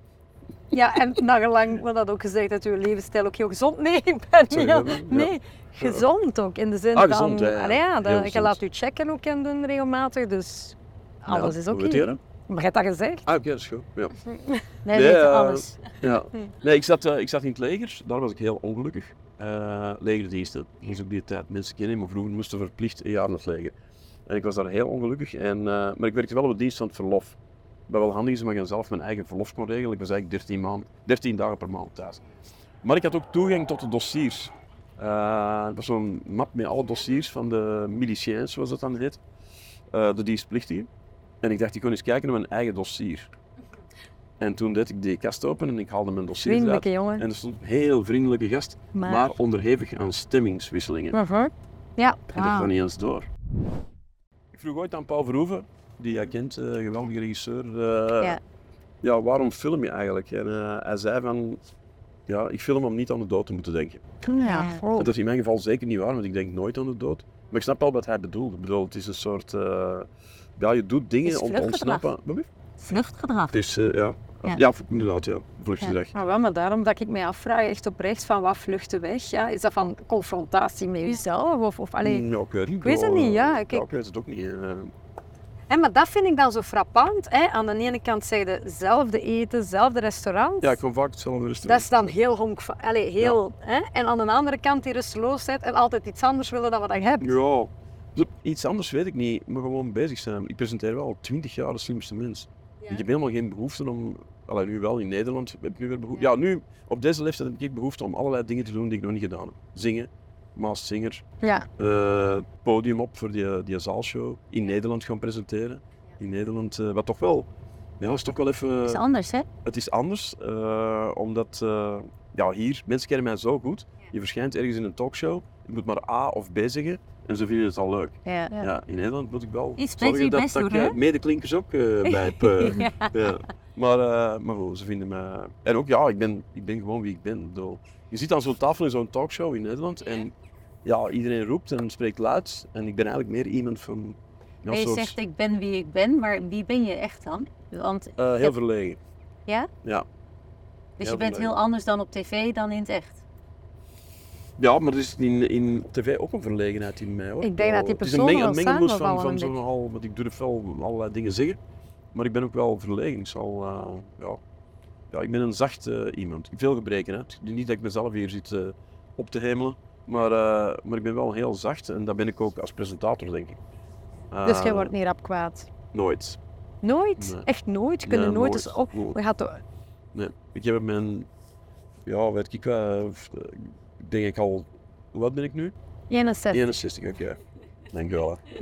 Speaker 3: Ja, en nagelang wordt dat ook gezegd dat uw levensstijl ook heel gezond... Nee, ik ben
Speaker 4: Sorry,
Speaker 3: niet... al-
Speaker 4: dat- ja.
Speaker 3: Nee, gezond ook. In de zin
Speaker 4: Ah,
Speaker 3: van...
Speaker 4: gezond, ja, ja.
Speaker 3: Allee, ja, dat-
Speaker 4: Heel
Speaker 3: je
Speaker 4: gezond.
Speaker 3: laat u checken ook en doen regelmatig, dus... Alles
Speaker 4: Ja,
Speaker 3: is oké.
Speaker 4: hoe weet je dat?
Speaker 5: Maar je hebt dat gezegd?
Speaker 4: Ah, oké, dat is goed. Ja.
Speaker 5: Wij
Speaker 4: Nee,
Speaker 5: weten
Speaker 4: eh,
Speaker 5: alles.
Speaker 4: Ja. Nee, ik zat, eh, ik zat in het leger. Daar was ik heel ongelukkig. Eh legerdiensten. Dat is ook die tijd. Mensen kennen maar vroeger moesten verplicht een jaar naar het leger. En ik was daar heel ongelukkig. En, eh, maar ik werkte wel op het dienst van het verlof. Wat wel handig is, omdat je zelf mijn eigen verlof kon regelen. Ik was eigenlijk 13, maand, 13 dagen per maand thuis. Maar ik had ook toegang tot de dossiers. Eh er was zo'n map met alle dossiers van de miliciëns, zoals dat dan heet. Eh, de dienstplichtigen. En ik dacht, ik kon eens kijken naar mijn eigen dossier. En toen deed ik die kast open en ik haalde mijn dossier eruit.
Speaker 5: Vriendelijke jongen.
Speaker 4: En er stond een heel vriendelijke gast, maar,
Speaker 5: Maar-
Speaker 4: onderhevig aan stemmingswisselingen.
Speaker 5: Mhm. Ja,
Speaker 4: En dat kwam niet eens door. Ik vroeg ooit aan Paul Verhoeven, die jij kent, eh, geweldige regisseur, eh,
Speaker 5: Ja.
Speaker 4: ja, waarom film je eigenlijk? En eh, hij zei van, ja, ik film om niet aan de dood te moeten denken.
Speaker 3: Ja.
Speaker 4: Dat is in mijn geval zeker niet waar, want ik denk nooit aan de dood. Maar ik snap wel wat hij bedoelt. Ik bedoel, het is een soort, eh, ja, je doet dingen
Speaker 5: Is
Speaker 4: om te
Speaker 5: vluchtgedrag.
Speaker 4: ontsnappen. Wat lief?
Speaker 5: vluchtgedrag.
Speaker 4: Het is, eh, ja.
Speaker 5: Ja.
Speaker 4: Ja. inderdaad, ja. Vluchtgedrag.
Speaker 3: Maar wel, maar daarom dat ik mij afvraag, echt oprecht, van wat vluchten weg? Ja? Is dat van confrontatie met jezelf? Of, of, allee,
Speaker 4: Mm, ja, ik weet het niet.
Speaker 3: weet het
Speaker 4: bedoel,
Speaker 3: niet, ja,
Speaker 4: eh,
Speaker 3: ik-
Speaker 4: ik weet het ook niet. eh.
Speaker 3: Hè, maar dat vind ik dan zo frappant. Hè? Aan de ene kant zeg je hetzelfde eten, hetzelfde restaurant.
Speaker 4: Ja, ik kom vaak hetzelfde
Speaker 3: dat
Speaker 4: restaurant.
Speaker 3: is dan heel honk. Allee, heel, hè? En aan de andere kant die rusteloosheid en altijd iets anders willen dan wat je hebt.
Speaker 4: Ja. Dus Iets anders weet ik niet, maar gewoon bezig zijn. Ik presenteer wel al twintig jaar de slimste mens. Ik heb helemaal geen behoefte om... Allee, nu wel, in Nederland heb ik nu weer behoefte... Ja. nu, op deze leeftijd heb ik behoefte om allerlei dingen te doen die ik nog niet gedaan heb. Zingen, Maas Singer,
Speaker 3: Ja.
Speaker 4: eh, podium op voor die, die zaalshow, in Nederland gaan presenteren. In Nederland, eh, wat toch wel... Ja, is toch wel even...
Speaker 5: is anders, hè?
Speaker 4: Het is anders, eh, omdat eh, ja, hier, mensen kennen mij zo goed. Je verschijnt ergens in een talkshow, je moet maar A of B zeggen en ze vinden het al leuk.
Speaker 5: Ja.
Speaker 4: Ja. in Nederland moet ik wel
Speaker 5: Je spreekt
Speaker 4: zorgen
Speaker 5: je
Speaker 4: dat,
Speaker 5: best
Speaker 4: dat
Speaker 5: door,
Speaker 4: ik
Speaker 5: hè?
Speaker 4: eh, medeklinkers ook eh, bij heb. eh. ja. Maar, eh, maar goed, ze vinden mij... En ook, ja, ik ben, ik ben gewoon wie ik ben. Ik bedoel, Je zit aan zo'n tafel in zo'n talkshow in Nederland en ja, iedereen roept en spreekt luid. En ik ben eigenlijk meer iemand van... Ja,
Speaker 5: Maar je
Speaker 4: soort,
Speaker 5: zegt ik ben wie ik ben, maar wie ben je echt dan? Want,
Speaker 4: eh, heel
Speaker 5: Ja.
Speaker 4: verlegen.
Speaker 5: ja?
Speaker 4: Ja.
Speaker 5: Dus
Speaker 4: Heel
Speaker 5: je bent
Speaker 4: leuk.
Speaker 5: heel anders dan op tv dan in het echt.
Speaker 4: Ja, maar er is in, in tv ook een verlegenheid in mij hoor.
Speaker 3: Ik denk dat die
Speaker 4: Het is een
Speaker 3: personen
Speaker 4: meng- een
Speaker 3: wel
Speaker 4: mengelmoes van,
Speaker 3: samenvallen
Speaker 4: van
Speaker 3: een
Speaker 4: zo'n
Speaker 3: beetje.
Speaker 4: al, want ik durf wel allerlei dingen zeggen, maar ik ben ook wel verlegen. Ik zal, eh, ja. ja, ik ben een zacht eh, iemand. Veel gebreken hè. Het is Niet dat ik mezelf hier zit eh, op te hemelen, maar, eh, maar ik ben wel heel zacht en dat ben ik ook als presentator denk ik. Eh,
Speaker 3: Dus jij wordt niet rap kwaad.
Speaker 4: Nooit.
Speaker 3: Nooit?
Speaker 4: Nee.
Speaker 3: Echt nooit? Je kunt
Speaker 4: Nee,
Speaker 3: er nooit eens op...
Speaker 4: Nooit.
Speaker 3: Je gaat toch-
Speaker 4: Nee. Ik heb mijn, ja weet ik wel, eh, ik denk ik al, hoe oud ben ik nu?
Speaker 3: 61.
Speaker 4: 61, oké. Dankjewel hè. En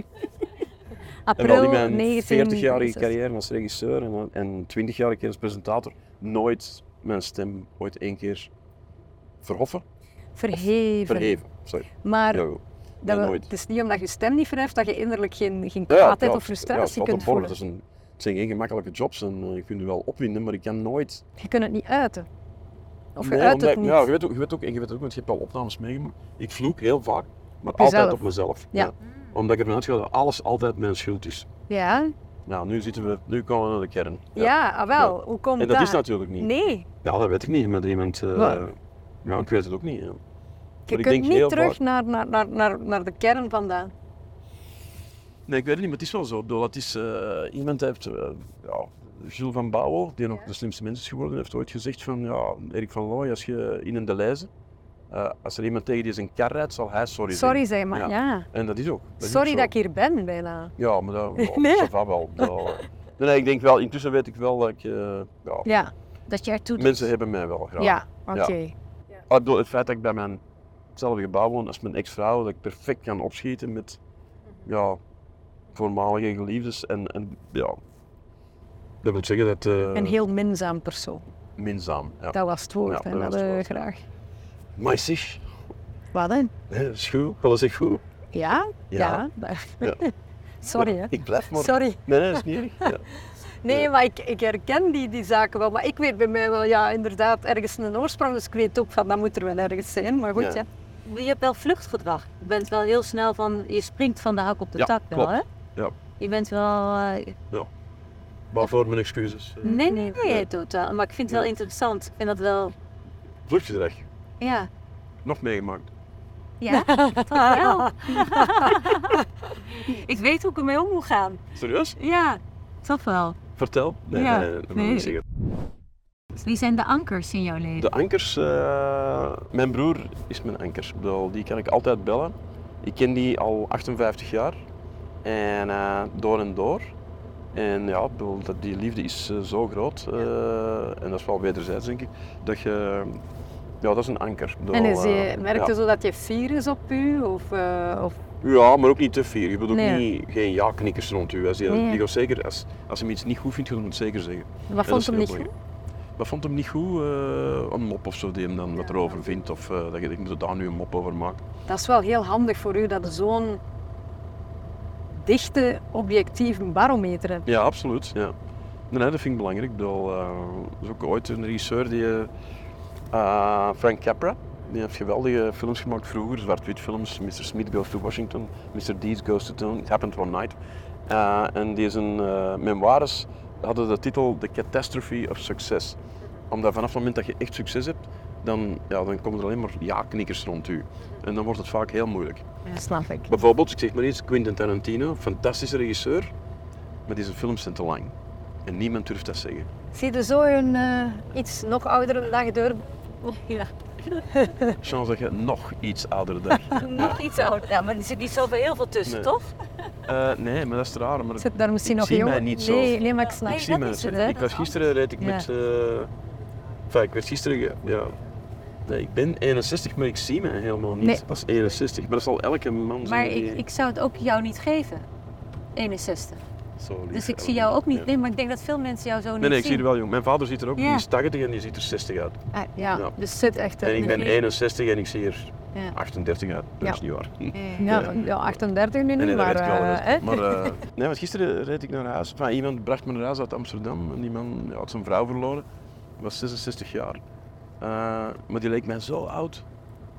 Speaker 4: wel
Speaker 3: April
Speaker 4: in mijn 40-jarige
Speaker 3: 1961.
Speaker 4: carrière als regisseur en, en 20-jarige keer als presentator nooit mijn stem ooit één keer verhoffen,
Speaker 3: Verheven.
Speaker 4: verheven. Sorry.
Speaker 3: Maar
Speaker 4: Ja, goed.
Speaker 3: dat
Speaker 4: nee,
Speaker 3: we-
Speaker 4: nooit.
Speaker 3: het is niet omdat je stem niet verheft dat je innerlijk geen, geen
Speaker 4: Ja,
Speaker 3: kwaadheid
Speaker 4: ja,
Speaker 3: of
Speaker 4: ja,
Speaker 3: frustratie
Speaker 4: het valt
Speaker 3: kunt
Speaker 4: op
Speaker 3: voelen.
Speaker 4: borrel. Dat is een, het zijn geen gemakkelijke jobs en eh, je kunt je wel opwinden, maar ik kan nooit.
Speaker 3: Je kunt het niet uiten. Of je
Speaker 4: Nee,
Speaker 3: uit
Speaker 4: omdat-
Speaker 3: het niet.
Speaker 4: Ja, je weet ook, je weet ook, en je weet ook, want je hebt al opnames meegemaakt. Ik vloek heel vaak, maar
Speaker 3: Op
Speaker 4: altijd
Speaker 3: jezelf.
Speaker 4: op mezelf.
Speaker 3: Ja.
Speaker 4: Omdat ik ervan uitga dat alles altijd mijn schuld is.
Speaker 3: Ja, ja.
Speaker 4: Nou, nu zitten we, nu komen we naar de kern.
Speaker 3: ah wel. Hoe komt
Speaker 4: En dat is natuurlijk niet.
Speaker 3: Nee,
Speaker 4: Ja, dat weet ik niet. Met iemand. eh,
Speaker 3: Waar?
Speaker 4: ja, ik weet het ook niet. ja.
Speaker 3: je
Speaker 4: ik denk
Speaker 3: kunt
Speaker 4: heel
Speaker 3: niet terug
Speaker 4: vaak-
Speaker 3: naar, naar, naar, naar, naar de kern vandaan.
Speaker 4: Nee, ik weet het niet, maar het is wel zo. Ik bedoel, Dat is, eh, iemand heeft, eh, ja, Jules van Bouwel, die nog de slimste mens is geworden, heeft ooit gezegd van, ja, Erik van Looy, als je in een Deleuze, eh, als er iemand tegen die zijn kar rijdt, zal hij sorry zeggen.
Speaker 3: Sorry, zeg maar. Ja.
Speaker 4: Ja. En dat is ook. Dat is ook
Speaker 3: Sorry
Speaker 4: zo.
Speaker 3: dat ik hier ben, bijna.
Speaker 4: Ja, maar dat oh,
Speaker 3: Nee.
Speaker 4: ça va wel. Dat- nee, nee, ik denk wel, intussen weet ik wel dat ik, eh, ja,
Speaker 3: Ja,
Speaker 5: Dat je ertoe doet.
Speaker 4: mensen hebben mij wel graag.
Speaker 3: ja, oké.
Speaker 4: Ja. Ah, ik bedoel, het feit dat ik bij mijn hetzelfde gebouw woon als mijn ex-vrouw, dat ik perfect kan opschieten met
Speaker 3: Mhm.
Speaker 4: ja, voormalige geliefdes. En, en ja, dat wil zeggen dat... eh
Speaker 3: Een heel minzaam persoon.
Speaker 4: Minzaam, ja.
Speaker 3: Dat was het woord.
Speaker 4: Ja,
Speaker 3: hè,
Speaker 4: dat
Speaker 3: dat
Speaker 4: was het
Speaker 3: eh,
Speaker 4: woord.
Speaker 3: graag.
Speaker 4: Maar zeg,
Speaker 3: Wat hè?
Speaker 4: hè, dat is goed. Dat is echt goed.
Speaker 3: Ja? Ja.
Speaker 4: Ja.
Speaker 3: Sorry, hè?
Speaker 4: Ik blijf maar...
Speaker 3: Sorry.
Speaker 4: Nee, nee, dat is niet erg. Ja.
Speaker 3: Nee, maar ik, ik herken die, die zaken wel. Maar ik weet bij mij wel, ja, inderdaad, ergens een oorsprong. Dus ik weet ook van, dat moet er wel ergens zijn. Maar goed,
Speaker 4: Ja.
Speaker 3: ja.
Speaker 5: Je hebt wel vluchtgedrag. Je bent wel heel snel van, je springt van de hak op de
Speaker 4: Ja,
Speaker 5: tak wel, hè?
Speaker 4: klopt. Ja.
Speaker 5: Je bent wel... eh,
Speaker 4: Waarvoor mijn excuses. Eh,
Speaker 5: nee, nee, nee, totaal. Maar ik vind het wel interessant. Ik vind dat wel...
Speaker 4: Vluchtgedrag,
Speaker 5: Ja.
Speaker 4: nog meegemaakt.
Speaker 5: Ja, toch wel. ik weet hoe ik ermee om moet gaan.
Speaker 4: Serieus?
Speaker 5: Ja, toch wel.
Speaker 4: Vertel. Nee,
Speaker 5: Ja,
Speaker 4: nee, nee, dat wil
Speaker 5: nee.
Speaker 4: ik zeggen.
Speaker 5: Wie zijn de ankers in jouw leven?
Speaker 4: De ankers, eh, mijn broer is mijn anker. Ik bedoel, die kan ik altijd bellen. Ik ken die al 58 jaar. En eh, door en door. En ja, ik bedoel, dat- die liefde is eh, zo groot. eh, en dat is wel wederzijds, denk ik. Dat je... Ja, dat is een anker. Ik bedoel,
Speaker 3: En is
Speaker 4: eh,
Speaker 3: je, merkte
Speaker 4: ja.
Speaker 3: zo dat je fier is op u? Of, eh, of
Speaker 4: Ja, maar ook niet te fier. Je bedoelt ook
Speaker 5: Nee.
Speaker 4: niet, geen ja-knikkers rond u. Als je,
Speaker 3: Nee.
Speaker 4: je gaat zeker, als, als hem iets niet goed vindt, je moet het zeker zeggen.
Speaker 3: wat
Speaker 4: Ja, dat
Speaker 3: vond
Speaker 4: is
Speaker 3: hem
Speaker 4: heel
Speaker 3: niet goed?
Speaker 4: belangrijk. Wat vond hem niet goed? Eh, een mop of zo die hem dan wat erover vindt. Of eh, dat je denkt, ik moet daar nu een mop over maken.
Speaker 3: Dat is wel heel handig voor u dat je zo'n dichte, objectieve barometer hebt.
Speaker 4: Ja, absoluut. Ja. Nee, nee, dat vind ik belangrijk. Ik bedoel, eh, er is ook ooit een regisseur die... eh, Frank Capra. Die heeft geweldige films gemaakt vroeger. Zwart-wit films. Mr. Smith Goes to Washington. Mr. Deeds Goes to Town. It Happened One Night. Eh, en die zijn eh memoires hadden de titel The Catastrophe of Success. Omdat vanaf het moment dat je echt succes hebt, dan, ja, dan komen er alleen maar ja-knikkers rond u. En dan wordt het vaak heel moeilijk.
Speaker 5: Ja, snap ik.
Speaker 4: Bijvoorbeeld, ik zeg maar eens, Quentin Tarantino, fantastische regisseur, maar deze films zijn te lang. En niemand durft dat zeggen.
Speaker 3: Zie je zo een eh, iets nog oudere dag deur?
Speaker 5: Ja.
Speaker 4: Chance dat je nog iets ouder dag.
Speaker 5: Nog iets ouder. Ja, maar er zit niet zoveel heel veel tussen,
Speaker 4: Nee.
Speaker 5: toch?
Speaker 4: Eh, nee, maar dat is raar. Maar
Speaker 3: Zit daar misschien
Speaker 4: Ik
Speaker 3: nog
Speaker 4: zie
Speaker 3: jonger?
Speaker 4: mij niet zo.
Speaker 3: nee, nee, maar ik snap Ah,
Speaker 4: ik
Speaker 5: Nee,
Speaker 4: zie
Speaker 5: dat
Speaker 4: mij
Speaker 5: is
Speaker 4: zo.
Speaker 5: het, hè.
Speaker 4: Ik
Speaker 5: Dat
Speaker 4: was
Speaker 5: is
Speaker 4: gisteren reed ik
Speaker 5: Ja.
Speaker 4: met. eh, Enfin, ik werd gisteren. ge- Ja. Nee, ik ben 61, maar ik zie mij helemaal niet.
Speaker 3: Nee.
Speaker 4: Pas 61. Maar dat zal elke man
Speaker 5: Maar
Speaker 4: zijn. die-
Speaker 5: ik, ik zou het ook jou niet geven. 61.
Speaker 4: Zo lief,
Speaker 5: Dus ik zie
Speaker 4: Ellen.
Speaker 5: jou ook
Speaker 4: Ja.
Speaker 5: niet. Nee, maar ik denk dat veel mensen jou zo niet
Speaker 4: Nee, nee, ik zie
Speaker 5: zien.
Speaker 4: er wel jong. Mijn vader ziet er ook.
Speaker 5: Ja.
Speaker 4: Die is 80 en die ziet er 60 uit.
Speaker 3: Ah, ja.
Speaker 4: Ja.
Speaker 3: dus zit echt
Speaker 4: En
Speaker 3: in
Speaker 4: ik
Speaker 3: de
Speaker 4: ben
Speaker 3: vlieg.
Speaker 4: 61 en ik zie er
Speaker 5: Ja.
Speaker 4: 38 uit. Dat is niet waar.
Speaker 3: Ja, ja, 38 nu niet,
Speaker 4: Nee, nee,
Speaker 3: maar...
Speaker 4: dat weet ik wel.
Speaker 3: eh,
Speaker 4: dat
Speaker 3: hè?
Speaker 4: weet ik. Maar, eh, nee, want gisteren reed ik naar huis. Enfin, iemand bracht me naar huis uit Amsterdam. En die man ja, had zijn vrouw verloren. Was 66 jaar. Eh, maar die leek mij zo oud.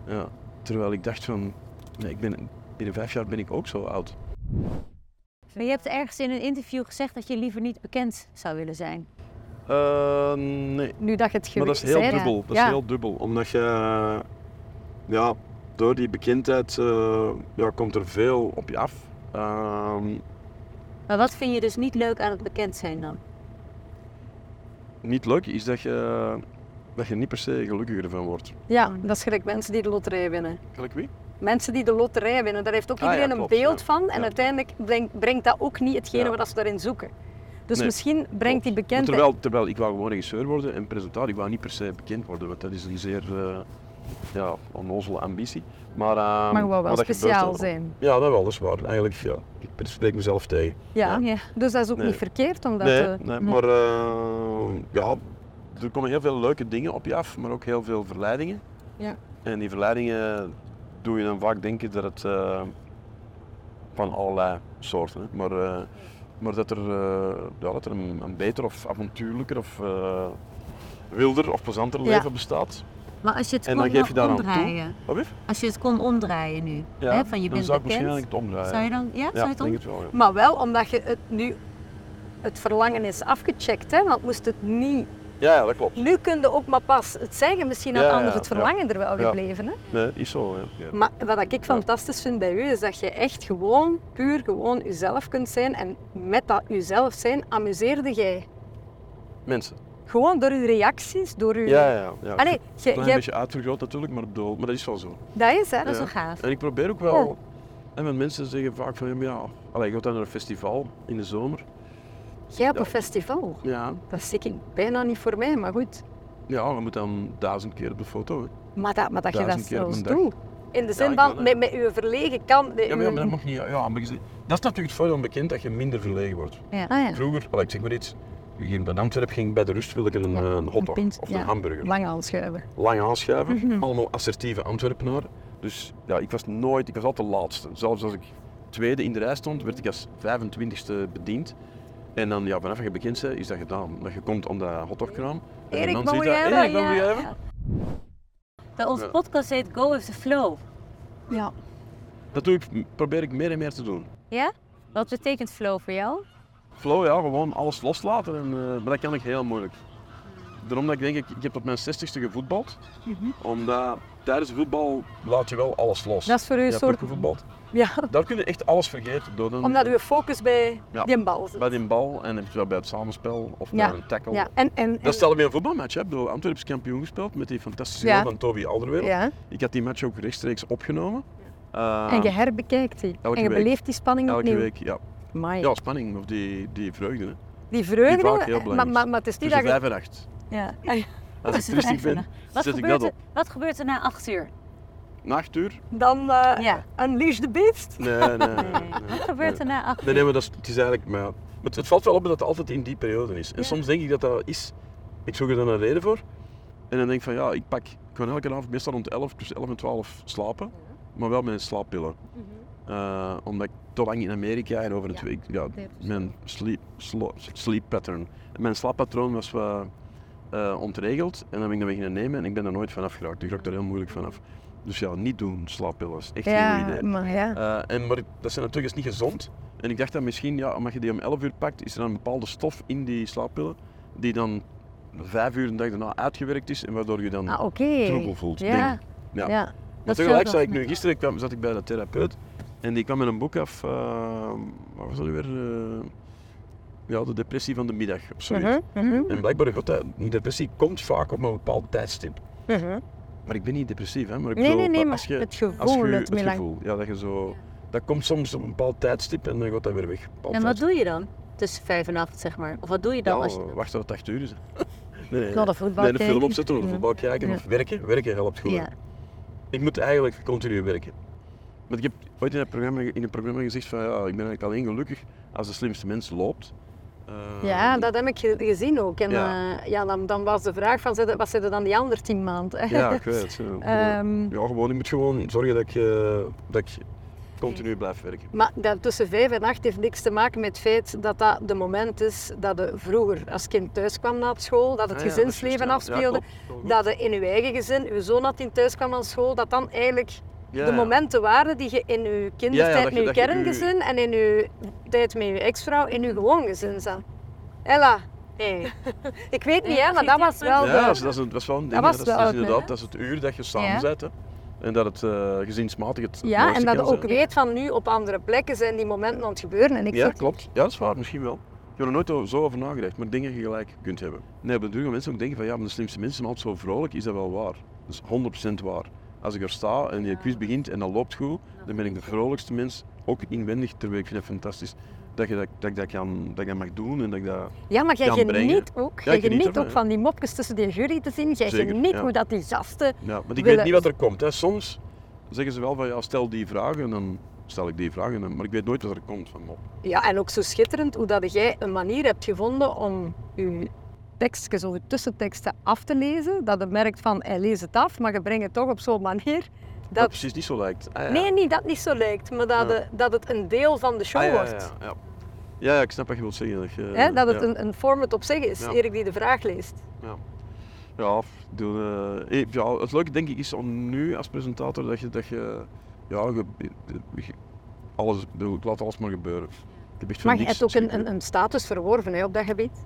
Speaker 4: Ja, terwijl ik dacht van... Nee, ik ben, binnen vijf jaar ben ik ook zo oud.
Speaker 5: Maar je hebt ergens in een interview gezegd dat je liever niet bekend zou willen zijn.
Speaker 4: Eh, nee.
Speaker 3: nu dat je het
Speaker 4: Maar dat
Speaker 3: geweest
Speaker 4: is heel
Speaker 3: bent.
Speaker 4: dubbel. Dat
Speaker 3: Ja.
Speaker 4: is heel dubbel. Omdat je... Ja, door die bekendheid eh, ja, komt er veel op je af. Ehm,
Speaker 5: Maar wat vind je dus niet leuk aan het bekend zijn dan?
Speaker 4: niet leuk is dat je, dat je niet per se gelukkiger ervan wordt.
Speaker 3: Ja, dat is gelijk mensen die de loterij winnen.
Speaker 4: Gelijk wie?
Speaker 3: Mensen die de loterij winnen, daar heeft ook
Speaker 4: Ah ja,
Speaker 3: iedereen
Speaker 4: klopt,
Speaker 3: een beeld
Speaker 4: ja.
Speaker 3: van. En
Speaker 4: Ja.
Speaker 3: uiteindelijk brengt, brengt dat ook niet hetgene
Speaker 4: Ja.
Speaker 3: wat ze daarin zoeken. Dus
Speaker 4: Nee,
Speaker 3: misschien brengt die
Speaker 4: Maar
Speaker 3: bekendheid...
Speaker 4: Terwijl, terwijl ik wou gewoon regisseur worden en presentator. Ik wou niet per se bekend worden, want dat is een zeer eh ja, onnozele ambitie. Maar,
Speaker 3: maar
Speaker 4: ehm,
Speaker 3: wel wel
Speaker 4: dat gebeurt
Speaker 3: speciaal
Speaker 4: wel.
Speaker 3: zijn.
Speaker 4: Ja, dat wel, dat is waar. Eigenlijk, ja. Ik spreek mezelf tegen.
Speaker 3: Ja.
Speaker 5: Ja.
Speaker 3: dus dat is ook
Speaker 4: Nee.
Speaker 3: niet verkeerd om dat
Speaker 4: nee,
Speaker 3: te...
Speaker 4: nee, maar eh, ja, er komen heel veel leuke dingen op je af, maar ook heel veel verleidingen.
Speaker 3: Ja.
Speaker 4: En die verleidingen doe je dan vaak denken dat het eh, van allerlei soorten, hè. maar, eh, maar dat er, eh, ja, dat er een, een beter of avontuurlijker of eh, wilder of plezanter
Speaker 3: Ja.
Speaker 4: leven bestaat.
Speaker 5: Maar als je het
Speaker 4: En
Speaker 5: kon
Speaker 4: dan geef je daar aan toe.
Speaker 5: omdraaien.
Speaker 4: Wat lief?
Speaker 5: Als je het kon omdraaien nu.
Speaker 4: Ja,
Speaker 5: hè, van je
Speaker 4: dan
Speaker 5: bent
Speaker 4: zou ik
Speaker 5: bekend.
Speaker 4: misschien eigenlijk het omdraaien.
Speaker 5: Zou je dan? Ja, zou
Speaker 4: ja,
Speaker 5: je
Speaker 4: ik
Speaker 5: het
Speaker 4: denk
Speaker 5: om...
Speaker 4: het wel. Ja.
Speaker 3: Maar wel omdat je het nu... Het verlangen is afgecheckt, hè? want moest het niet...
Speaker 4: Ja, ja, dat klopt.
Speaker 3: Nu kun je ook maar pas het zeggen, misschien had
Speaker 4: Ja, ja,
Speaker 3: anders het
Speaker 4: ja.
Speaker 3: verlangen er wel
Speaker 4: Ja.
Speaker 3: gebleven. Hè?
Speaker 4: Nee, is zo. Ja. Ja.
Speaker 3: Maar wat ik fantastisch vind bij u is dat je echt gewoon, puur gewoon uzelf kunt zijn. En met dat uzelf zijn, amuseerde jij.
Speaker 4: Mensen.
Speaker 3: Gewoon door uw reacties, door uw...
Speaker 4: Ja, ja, ja.
Speaker 3: Allee, je,
Speaker 4: Een
Speaker 3: je-
Speaker 4: klein beetje uitvergroot natuurlijk, maar, ik bedoel, maar dat is wel zo.
Speaker 3: dat is hè.
Speaker 5: Dat is
Speaker 4: Ja.
Speaker 5: wel gaaf.
Speaker 4: En ik probeer ook wel. En mijn mensen zeggen vaak van ja, maar ja. Allee, je gaat dan naar een festival in de zomer.
Speaker 3: Jij op
Speaker 4: Ja.
Speaker 3: een festival.
Speaker 4: Ja,
Speaker 3: Dat is zeker bijna niet voor mij, maar goed.
Speaker 4: ja we moeten dan duizend keer op de foto. Hè.
Speaker 3: Maar dat, maar dat je dat
Speaker 4: Duizend keer op
Speaker 3: zelfs
Speaker 4: een dag.
Speaker 3: doet. In de zin
Speaker 4: ik
Speaker 3: van,
Speaker 4: wel, hè.
Speaker 3: met, met uw verlegen kant... de-
Speaker 4: Ja, maar, ja, maar dat mag niet. Ja, maar je zegt- dat is natuurlijk het voordeel bekend dat je minder verlegen wordt.
Speaker 5: Oh Ja.
Speaker 3: Ah, ja.
Speaker 4: Vroeger, allee, ik zeg maar iets. Je ging bij Antwerpen ging ik bij de rust wil ik een, eh, een hotdog
Speaker 3: pint,
Speaker 4: of
Speaker 3: ja.
Speaker 4: een hamburger.
Speaker 3: Lang aanschuiven. Mhm.
Speaker 4: lang aanschuiven. Allemaal assertieve Antwerpenaren. Dus ja, ik was nooit, ik was altijd de laatste. Zelfs als ik tweede in de rij stond, werd ik als 25e bediend. En dan, ja, vanaf je begint bent, is dat gedaan. Dat je komt aan de hotdogkraam. en
Speaker 3: Erik,
Speaker 4: dan
Speaker 3: wat
Speaker 4: ziet
Speaker 3: wil
Speaker 4: dat,
Speaker 3: jij
Speaker 4: "Hey,
Speaker 3: hebben?"
Speaker 4: ik ben
Speaker 5: Ja,
Speaker 4: Goeie
Speaker 5: ja.
Speaker 4: Ever.
Speaker 5: Nou, onze
Speaker 4: Ja.
Speaker 5: podcast heet Go with the Flow.
Speaker 3: Ja.
Speaker 4: Dat doe ik, probeer ik meer en meer te doen.
Speaker 5: Ja? Wat betekent flow voor jou?
Speaker 4: Flow, ja, gewoon alles loslaten. En, eh, maar dat kan
Speaker 3: Mhm.
Speaker 4: ik heel moeilijk. Daarom dat ik denk, ik, ik heb tot mijn 60ste gevoetbald. Omdat tijdens voetbal laat je wel alles los.
Speaker 3: Dat is voor u
Speaker 4: je
Speaker 3: een
Speaker 4: hebt
Speaker 3: soort...
Speaker 4: ook gevoetbald.
Speaker 3: Ja,
Speaker 4: Daar kun je echt alles vergeten. Door een,
Speaker 3: omdat uw focus bij
Speaker 4: Ja.
Speaker 3: die bal zit.
Speaker 4: Bij die bal en eventueel bij het samenspel of
Speaker 3: Ja,
Speaker 4: bij een tackle.
Speaker 3: Ja, en... en, en
Speaker 4: Dat stelde bij een voetbalmatch. Hè. Ik bedoel, Antwerpen is kampioen gespeeld met die fantastische
Speaker 3: Ja.
Speaker 4: goal van Toby Alderweireld.
Speaker 3: ja.
Speaker 4: Ik had die match ook rechtstreeks opgenomen.
Speaker 3: en
Speaker 4: Eh,
Speaker 3: je herbekijkt die.
Speaker 4: elke
Speaker 3: en je
Speaker 4: week.
Speaker 3: beleeft die spanning
Speaker 4: elke
Speaker 3: opnieuw.
Speaker 4: week, ja.
Speaker 3: Amai.
Speaker 4: Ja, spanning of die, die vreugde. Hè.
Speaker 3: Die
Speaker 4: Die vaak heel
Speaker 3: vreugde,
Speaker 4: belangrijk
Speaker 3: maar,
Speaker 4: is. Dus
Speaker 3: maar, maar het is niet
Speaker 4: Tussen
Speaker 3: dat je...
Speaker 4: vijf en acht.
Speaker 3: Ja. En
Speaker 4: Als
Speaker 3: Oh,
Speaker 4: ik rustig ben,
Speaker 5: Wat
Speaker 4: zet ik
Speaker 5: gebeurt,
Speaker 4: dat
Speaker 5: er,
Speaker 4: op.
Speaker 5: wat gebeurt er na acht uur?
Speaker 4: Nachtuur?
Speaker 3: Dan eh
Speaker 5: Ja.
Speaker 3: unleash the beast.
Speaker 4: Nee, nee. nee, nee.
Speaker 5: Wat gebeurt er na acht
Speaker 4: Nee,
Speaker 5: uur?
Speaker 4: nee, maar dat is, het is eigenlijk... Maar, ja, het, het valt wel op dat het altijd in die periode is. En soms denk ik dat dat is... Ik zoek er dan een reden voor. En dan denk ik van, ja, ik pak... Ik kan elke avond meestal rond 11, tussen 11 en 12 slapen. Maar wel met een slaappillen. Eh, omdat ik te lang in Amerika en over het... Mhm. Ja, ja mijn sleep, slo- sleep pattern... Mijn slaappatroon was wat eh, ontregeld. En dan ben ik dat beginnen nemen en ik ben er nooit vanaf geraakt. Ik raak er heel moeilijk vanaf. Dus ja, niet doen, slaappillen. is Echt geen goed idee.
Speaker 3: maar ja.
Speaker 4: Eh, en, maar ik- dat zijn natuurlijk eens niet gezond. En ik dacht dat misschien, ja, omdat je die om 11 uur pakt, is er dan een bepaalde stof in die slaappillen die dan vijf uur een dag daarna uitgewerkt is en waardoor je dan
Speaker 3: Ah, oké.
Speaker 4: troebel voelt.
Speaker 3: Ja.
Speaker 4: denk ik. Ja.
Speaker 3: Ja.
Speaker 4: Maar
Speaker 3: dat
Speaker 4: tegelijk
Speaker 3: zou
Speaker 4: zat
Speaker 3: wel
Speaker 4: ik nu, gisteren kwam, zat ik bij de therapeut en die kwam met een boek af, eh, wat was dat nu weer? Eh, ja, de depressie van de middag of zoiets.
Speaker 3: Mhm, mhm,
Speaker 4: En blijkbaar, god, dat- die depressie komt vaak op een bepaald tijdstip.
Speaker 3: mhm.
Speaker 4: Maar ik ben niet depressief, hè. Maar ik
Speaker 3: Nee,
Speaker 4: bedoel,
Speaker 3: nee, nee,
Speaker 4: dat
Speaker 3: maar
Speaker 4: als je,
Speaker 3: het gevoel,
Speaker 4: als je,
Speaker 3: het melang-
Speaker 4: gevoel, ja, dat je zo... Dat komt soms op een bepaald tijdstip en dan gaat dat weer weg. Een bepaald
Speaker 5: En wat
Speaker 4: tijdstip.
Speaker 5: doe je dan? Tussen vijf en acht, zeg maar. Of wat doe je dan? als
Speaker 4: Ja,
Speaker 5: je...
Speaker 4: wacht tot het acht uur is. hè. Nee,
Speaker 3: Naar
Speaker 4: nee,
Speaker 3: de
Speaker 4: nee.
Speaker 3: voetbal
Speaker 4: Nee, een
Speaker 3: kijken.
Speaker 4: film opzetten of
Speaker 3: Ja.
Speaker 4: voetbal kijken
Speaker 3: Ja.
Speaker 4: of werken. Werken helpt goed.
Speaker 3: Ja.
Speaker 4: Ik moet eigenlijk continu werken. Want ik heb ooit in een programma, in een programma gezegd van ja, ik ben eigenlijk alleen gelukkig als de slimste mens loopt. Eh,
Speaker 3: Ja, dat heb ik ge- gezien ook. En
Speaker 4: Ja.
Speaker 3: ja. ja, dan, dan was de vraag van, zit- wat zitten dan die andere tien maanden?
Speaker 4: Ja, ik weet het. ja.
Speaker 3: Ehm.
Speaker 4: ja, gewoon, ik moet gewoon zorgen dat ik, eh, dat ik continu blijf werken.
Speaker 3: Maar dat tussen vijf en acht heeft niks te maken met het feit dat dat de moment is dat je vroeger als kind thuis kwam na school, dat het
Speaker 4: Ah ja, dat is
Speaker 3: gezinsleven
Speaker 4: juist, ja. Ja,
Speaker 3: afspeelde,
Speaker 4: klopt. Heel
Speaker 3: dat
Speaker 4: goed.
Speaker 3: je in je eigen gezin, je zoon dat in thuis kwam van school, dat dan eigenlijk
Speaker 4: Ja,
Speaker 3: de
Speaker 4: ja.
Speaker 3: momenten waren die je in je kindertijd
Speaker 4: Ja, ja, dat je-
Speaker 3: met
Speaker 4: dat
Speaker 3: je
Speaker 4: je u-
Speaker 3: kerngezin en in je tijd met je ex-vrouw in je gewoon gezin zat. Ella, hey. ik weet niet hè, maar dat was wel
Speaker 4: Ja, dat
Speaker 3: de...
Speaker 4: is, dat is een- dat is wel een ding.
Speaker 3: Dat
Speaker 4: hè.
Speaker 3: was
Speaker 4: Dat, is,
Speaker 3: wel
Speaker 4: dat is
Speaker 3: oud,
Speaker 4: inderdaad
Speaker 3: hè?
Speaker 4: dat is het uur dat je samen
Speaker 5: Ja.
Speaker 4: zit. Hè. En dat het eh, gezinsmatig het het
Speaker 3: Ja,
Speaker 4: mooiste
Speaker 3: en dat
Speaker 4: kan
Speaker 3: je ook
Speaker 4: zijn.
Speaker 3: weet van nu op andere plekken zijn die momenten aan het gebeuren. En ik
Speaker 4: Ja,
Speaker 3: zat-
Speaker 4: klopt. Ja, dat is waar, misschien wel. Ik heb er nooit o- zo over nagedacht, maar dingen gelijk kunt hebben. Nee, op de duur gaan mensen ook denken van ja, maar de slimste mensen zijn altijd zo vrolijk, is dat wel waar? Dat is 100% waar. Als ik er sta en die quiz begint en dat loopt goed, dan ben ik de vrolijkste mens, ook inwendig terwijl ik vind dat fantastisch. Dat, je dat, dat ik dat, kan, dat ik dat mag doen en dat ik dat...
Speaker 3: Ja, maar jij
Speaker 4: kan
Speaker 3: geniet
Speaker 4: brengen.
Speaker 3: ook.
Speaker 4: Ja,
Speaker 3: Jij
Speaker 4: ik geniet
Speaker 3: geniet
Speaker 4: ervan,
Speaker 3: ook
Speaker 4: ja.
Speaker 3: van die mopjes tussen die jury te zien. Jij
Speaker 4: Zeker,
Speaker 3: geniet
Speaker 4: ja.
Speaker 3: hoe dat die gasten...
Speaker 4: Ja, want ik
Speaker 3: Willen-
Speaker 4: weet niet wat er komt. Hè. Soms zeggen ze wel van ja, stel die vragen en dan stel ik die vragen, en- maar ik weet nooit wat er komt van mop.
Speaker 3: Ja, en ook zo schitterend hoe dat jij een manier hebt gevonden om je tekstjes of je tussenteksten af te lezen. Dat je merkt van, hij leest het af, maar je brengt het toch op zo'n manier
Speaker 4: Dat
Speaker 3: dat...
Speaker 4: precies niet zo lijkt. Ah, ja.
Speaker 3: Nee, niet dat het niet zo lijkt, maar dat,
Speaker 4: Ja.
Speaker 3: de- dat het een deel van de show
Speaker 4: Ah, ja, ja,
Speaker 3: wordt.
Speaker 4: ja, ja. Ja, ja, ik snap wat je wilt zeggen. Dat, je,
Speaker 3: Hè, dat het
Speaker 4: ja.
Speaker 3: een, een format op zich is,
Speaker 4: Ja.
Speaker 3: Erik die de vraag leest.
Speaker 4: Ja, ik bedoel, eh, eh, ja, het leuke denk ik is om nu als presentator dat je, dat je, ja, je, je- alles, ik bedoel, ik laat alles maar gebeuren. Ik heb echt van
Speaker 3: Maar je
Speaker 4: niks
Speaker 3: hebt ook een,
Speaker 4: schrik.
Speaker 3: een, een status verworven hè, op dat gebied.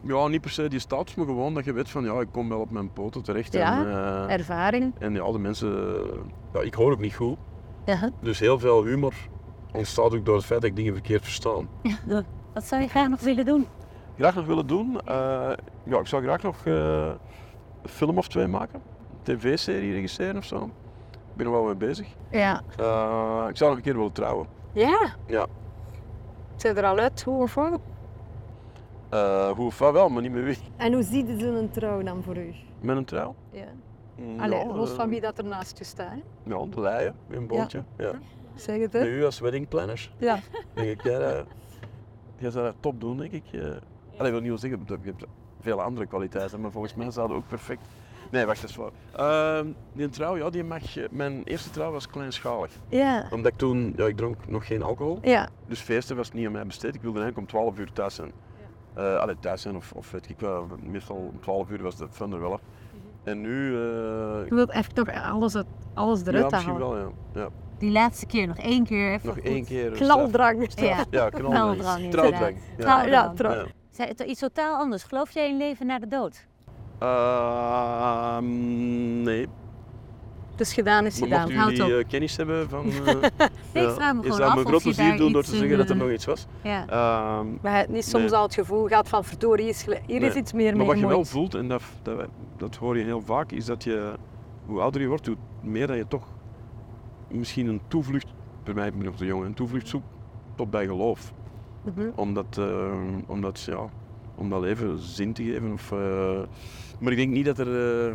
Speaker 4: Ja, niet per se die status, maar gewoon dat je weet van ja, ik kom wel op mijn poten terecht.
Speaker 3: Ja,
Speaker 4: en, eh,
Speaker 3: Ervaring.
Speaker 4: en ja, de mensen, ja, ik hoor ook niet goed.
Speaker 3: Ja.
Speaker 4: Dus heel veel humor ontstaat ook door het feit dat ik dingen verkeerd verstaan.
Speaker 5: Wat zou je graag nog willen doen?
Speaker 4: Graag nog willen doen, eh, ja, ik zou graag nog eh, een film of twee maken. Een tv-serie regisseren of zo. Ik ben er wel mee bezig.
Speaker 3: Ja.
Speaker 4: Eh, ik zou nog een keer willen trouwen.
Speaker 3: Ja?
Speaker 4: Ja.
Speaker 3: Zijn er al uit? Hoe of wat?
Speaker 4: Eh hoe vaak wel, maar niet met wie.
Speaker 3: En hoe ziet ze een trouw dan voor u?
Speaker 4: Met een trouw.
Speaker 3: Ja.
Speaker 4: Mm,
Speaker 3: Allee,
Speaker 4: ja,
Speaker 3: los
Speaker 4: eh,
Speaker 3: van wie dat er naast je staat. hè?
Speaker 4: Ja, de leien, in een bootje. Ja.
Speaker 3: Zeg het,
Speaker 4: En
Speaker 3: hè?
Speaker 4: U als wedding planner.
Speaker 3: Ja.
Speaker 4: Denk ik, ja, eh. dat- jij zou dat top doen, denk ik. eh. Allee, ik wil niet wel zeggen, je hebt vele andere kwaliteiten, maar volgens mij zouden ook perfect... Nee, wacht, dat is waar. Ehm, die trouw, ja, die mag... eh, Mijn eerste trouw was kleinschalig.
Speaker 3: Ja.
Speaker 4: Omdat ik toen... Ja, ik dronk nog geen alcohol.
Speaker 3: Ja.
Speaker 4: Dus feesten was niet aan mij besteed. Ik wilde eigenlijk om 12 uur thuis zijn. Eh allee, thuis zijn of, of weet ik wel. Meestal om 12 uur was de fun er wel af.
Speaker 5: Mhm.
Speaker 4: En nu... eh
Speaker 3: Je wilt echt toch alles, uit- alles
Speaker 4: ja,
Speaker 3: eruit
Speaker 4: misschien
Speaker 3: halen.
Speaker 4: wel, ja. ja.
Speaker 5: Die laatste keer, nog één keer. Even
Speaker 4: Nog
Speaker 5: goed.
Speaker 4: één keer... eh,
Speaker 3: Knaldrang.
Speaker 4: straf- straf- Ja, knaldrang.
Speaker 5: Knaldrang,
Speaker 4: Trouwdrang.
Speaker 5: inderdaad.
Speaker 3: Ja,
Speaker 4: Ja.
Speaker 3: ja, trouw.
Speaker 4: Ja.
Speaker 5: Zij- het- Iets totaal anders. Geloof jij in leven na de dood?
Speaker 4: Ehm, nee.
Speaker 3: Dus gedaan is
Speaker 4: Mo-
Speaker 3: gedaan.
Speaker 4: Mochten
Speaker 5: Houd
Speaker 4: jullie
Speaker 5: op.
Speaker 4: eh, kennis hebben van... eh,
Speaker 5: Nee, ik vraag me
Speaker 4: is
Speaker 5: gewoon
Speaker 4: dat
Speaker 5: af
Speaker 4: mijn
Speaker 5: of
Speaker 4: groot
Speaker 5: je daar
Speaker 4: plezier doen door
Speaker 5: iets,
Speaker 4: te zeggen dat er
Speaker 5: eh,
Speaker 4: nog iets was.
Speaker 5: Ja.
Speaker 4: Ehm,
Speaker 3: Maar het niet soms
Speaker 4: Nee.
Speaker 3: al het gevoel gaat van verdorie, hier is, gel- hier is
Speaker 4: Nee.
Speaker 3: iets meer
Speaker 4: maar
Speaker 3: mee
Speaker 4: wat je wel
Speaker 3: gemoeid.
Speaker 4: voelt, en dat, dat, dat hoor je heel vaak, is dat je, hoe ouder je wordt, hoe meer dat je toch misschien een toevlucht, bij mij ben ik nog te jong, een toevlucht zoekt tot bij geloof.
Speaker 3: Mhm.
Speaker 4: Omdat, eh, omdat, ja, om dat even zin te geven. Of, eh, maar ik denk niet dat er... eh,